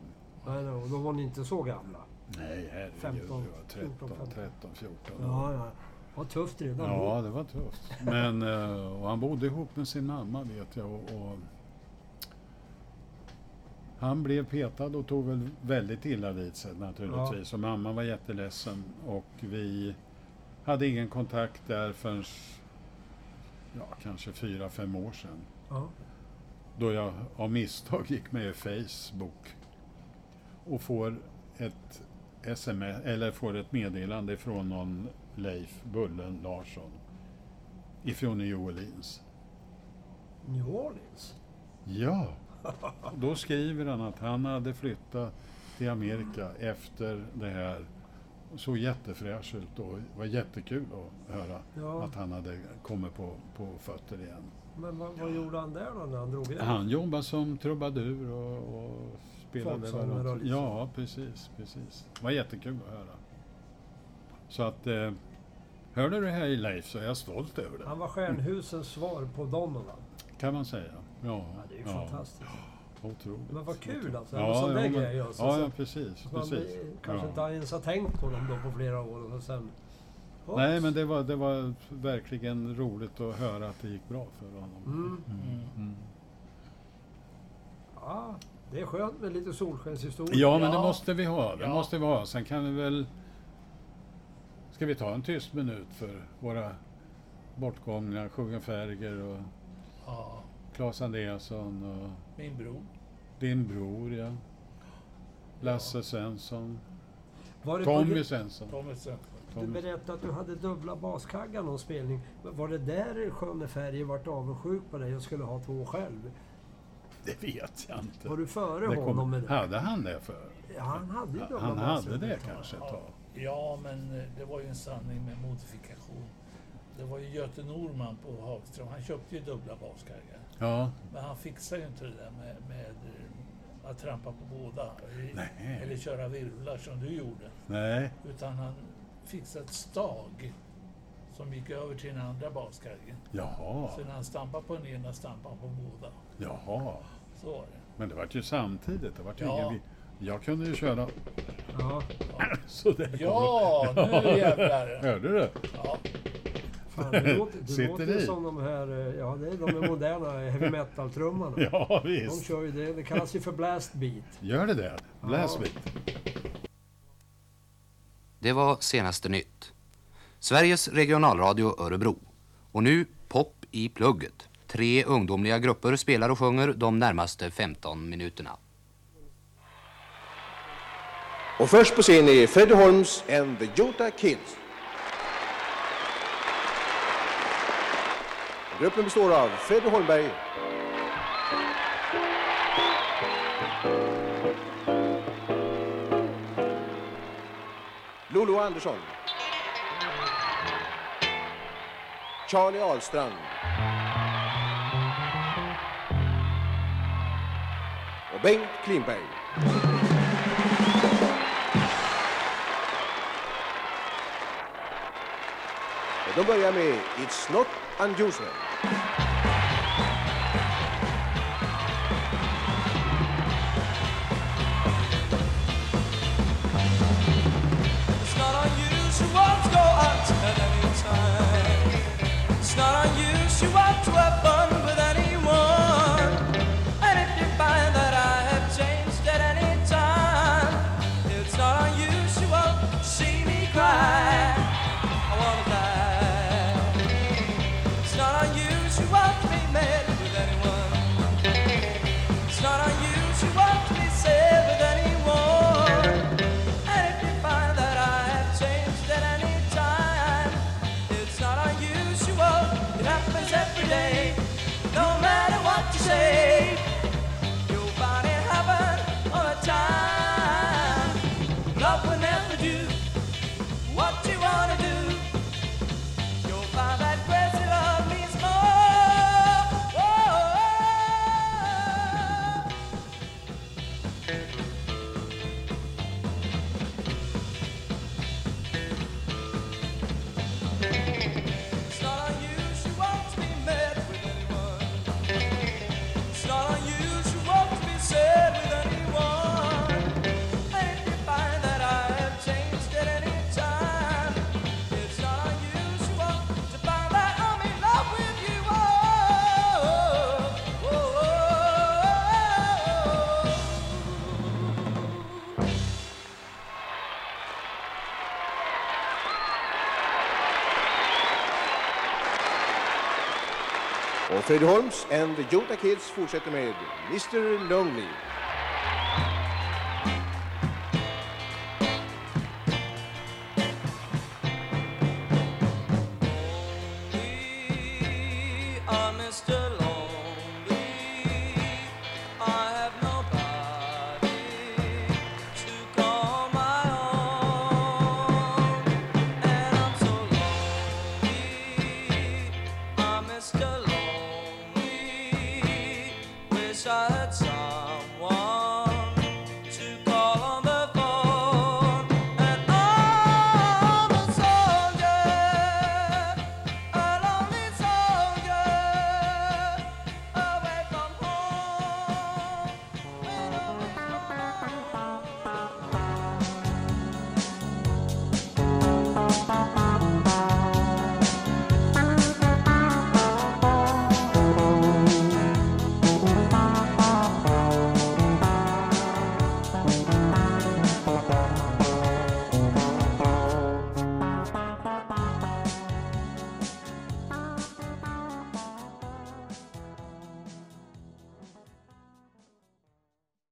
Speaker 9: Nej, nej, och då var ni inte så gamla.
Speaker 3: Nej, herregud.
Speaker 9: 15,
Speaker 3: vi var 13,
Speaker 9: 14,
Speaker 3: 13, 14 år.
Speaker 9: Ja, ja. Vad tufft redan
Speaker 3: Ja,
Speaker 9: då.
Speaker 3: det var tufft. Men, eh, och han bodde ihop med sin mamma vet jag. Och, och han blev petad och tog väl väldigt illa vid sig naturligtvis. Och mamman var jätteledsen. Och vi hade ingen kontakt där förrän ja, kanske fyra, fem år sedan.
Speaker 9: Ja.
Speaker 3: Då jag av misstag gick med i Facebook och får ett, SMS, eller får ett meddelande från någon Leif Bullen Larsson ifrån New Orleans.
Speaker 9: New Orleans.
Speaker 3: Ja! Då skriver han att han hade flyttat till Amerika efter det här. Såg jättefräsch ut och det var jättekul att höra
Speaker 9: Ja.
Speaker 3: att han hade kommit på, på fötter igen.
Speaker 9: Men vad, vad gjorde han där då när han drog iväg?
Speaker 3: Han jobbade som trubadur och, och spelade
Speaker 9: Folksångare
Speaker 3: väl något-
Speaker 9: och liksom.
Speaker 3: Ja, precis, precis. Det var jättekul att höra. Så att... Eh, hörde du det här i Leif så är jag stolt över det.
Speaker 9: Han var stjärnhusens svar på Donovan.
Speaker 3: Kan man säga. Ja,
Speaker 9: Ja, det är ju fantastiskt.
Speaker 3: Otroligt.
Speaker 9: Men vad kul alltså. en
Speaker 3: Ja,
Speaker 9: sån
Speaker 3: ja,
Speaker 9: där
Speaker 3: men,
Speaker 9: grej.
Speaker 3: ja,
Speaker 9: Och så,
Speaker 3: ja,
Speaker 9: så,
Speaker 3: precis.
Speaker 9: man
Speaker 3: precis.
Speaker 9: eh, kanske
Speaker 3: ja.
Speaker 9: inte ens har tänkt på dem då på flera år och sen... Hopps.
Speaker 3: Nej, men det var, det var verkligen roligt att höra att det gick bra för honom.
Speaker 9: Mm.
Speaker 3: Mm.
Speaker 9: Ja, det är skönt med lite solskenshistorier.
Speaker 3: Ja, men det
Speaker 1: Ja.
Speaker 3: måste vi ha. Det
Speaker 1: Ja.
Speaker 3: måste vi ha. Sen kan vi väl... Ska vi ta en tyst minut för våra bortgångna Sjunga Färger och
Speaker 1: Ja,
Speaker 3: Claes Andreasson och
Speaker 1: min bror.
Speaker 3: din bror, ja. Lasse Svensson.
Speaker 9: Var det på,
Speaker 3: Tommy
Speaker 9: Gre-
Speaker 3: Svensson.
Speaker 1: Tommy Svensson.
Speaker 9: du
Speaker 3: Tommy.
Speaker 9: berättade att du hade dubbla baskaggar någon spelning. Var det där Sköne Färger vart avundsjuk på dig och skulle ha två själv?
Speaker 3: Det vet jag inte.
Speaker 9: Var du före
Speaker 3: Det
Speaker 9: honom med
Speaker 3: kom,
Speaker 9: det?
Speaker 3: hade han det för?
Speaker 9: Han hade ju dubbla
Speaker 3: Han hade
Speaker 9: baskaggar.
Speaker 3: det kanske ett tag.
Speaker 1: Ja, men eh, det var ju en sanning med modifikation. Det var ju Göte Norman på Hagström. Han köpte ju dubbla baskargar.
Speaker 3: Ja,
Speaker 1: Men han fixade ju inte det där med, med eh, att trampa på båda. i-
Speaker 3: Nej.
Speaker 1: Eller köra virvlar som du gjorde.
Speaker 3: nej.
Speaker 1: Utan han fixade ett stag som gick över till den andra baskargen.
Speaker 3: Jaha,
Speaker 1: Så när han stampade på den ena stampade han på båda.
Speaker 3: jaha.
Speaker 1: Så var det.
Speaker 3: Men det var ju samtidigt. Det var ju
Speaker 1: Ja.
Speaker 3: ingen... Jag kunde ju köra
Speaker 9: Ja.
Speaker 3: så där.
Speaker 1: Ja, nu jävlar!
Speaker 3: Hörde du?
Speaker 1: Ja,
Speaker 9: Fan, det låter, det
Speaker 3: Sitter
Speaker 9: låter ju
Speaker 3: i.
Speaker 9: som de här, eh, ja det är de här moderna heavy metal-trummarna.
Speaker 3: Ja,
Speaker 9: De
Speaker 3: visst.
Speaker 9: kör ju det, det kallas ju för blast beat.
Speaker 3: Gör det det? Läs lite.
Speaker 6: Det var senaste nytt. Sveriges regionalradio Örebro. Och nu pop i plugget. Tre ungdomliga grupper spelar och sjunger de närmaste 15 minuterna.
Speaker 7: Och först på scen är Freddie Holmes and the Jota Kids. Gruppen består av Freddie Holmberg, Lolo Andersson, Charlie Ahlstrand och Bengt Klinberg. Och de börjar med It's Not Unusual.
Speaker 8: It's not unusual to go out at any time. It's not unusual to have fun with anyone. And if you find that I have changed at any time, it's not unusual to see me cry. I wanna die. It's not unusual to be mad with anyone. It's not unusual to be sad with anyone. And if you find that I have changed at any time, it's not unusual. It happens every day, no matter what you say. You'll find it happen all the time. Love will never do what you wanna do. You'll find that crazy love means more. Whoa. Oh, oh.
Speaker 7: Freddie Holmes and the Jota Kids fortsätter med Mr Lonely.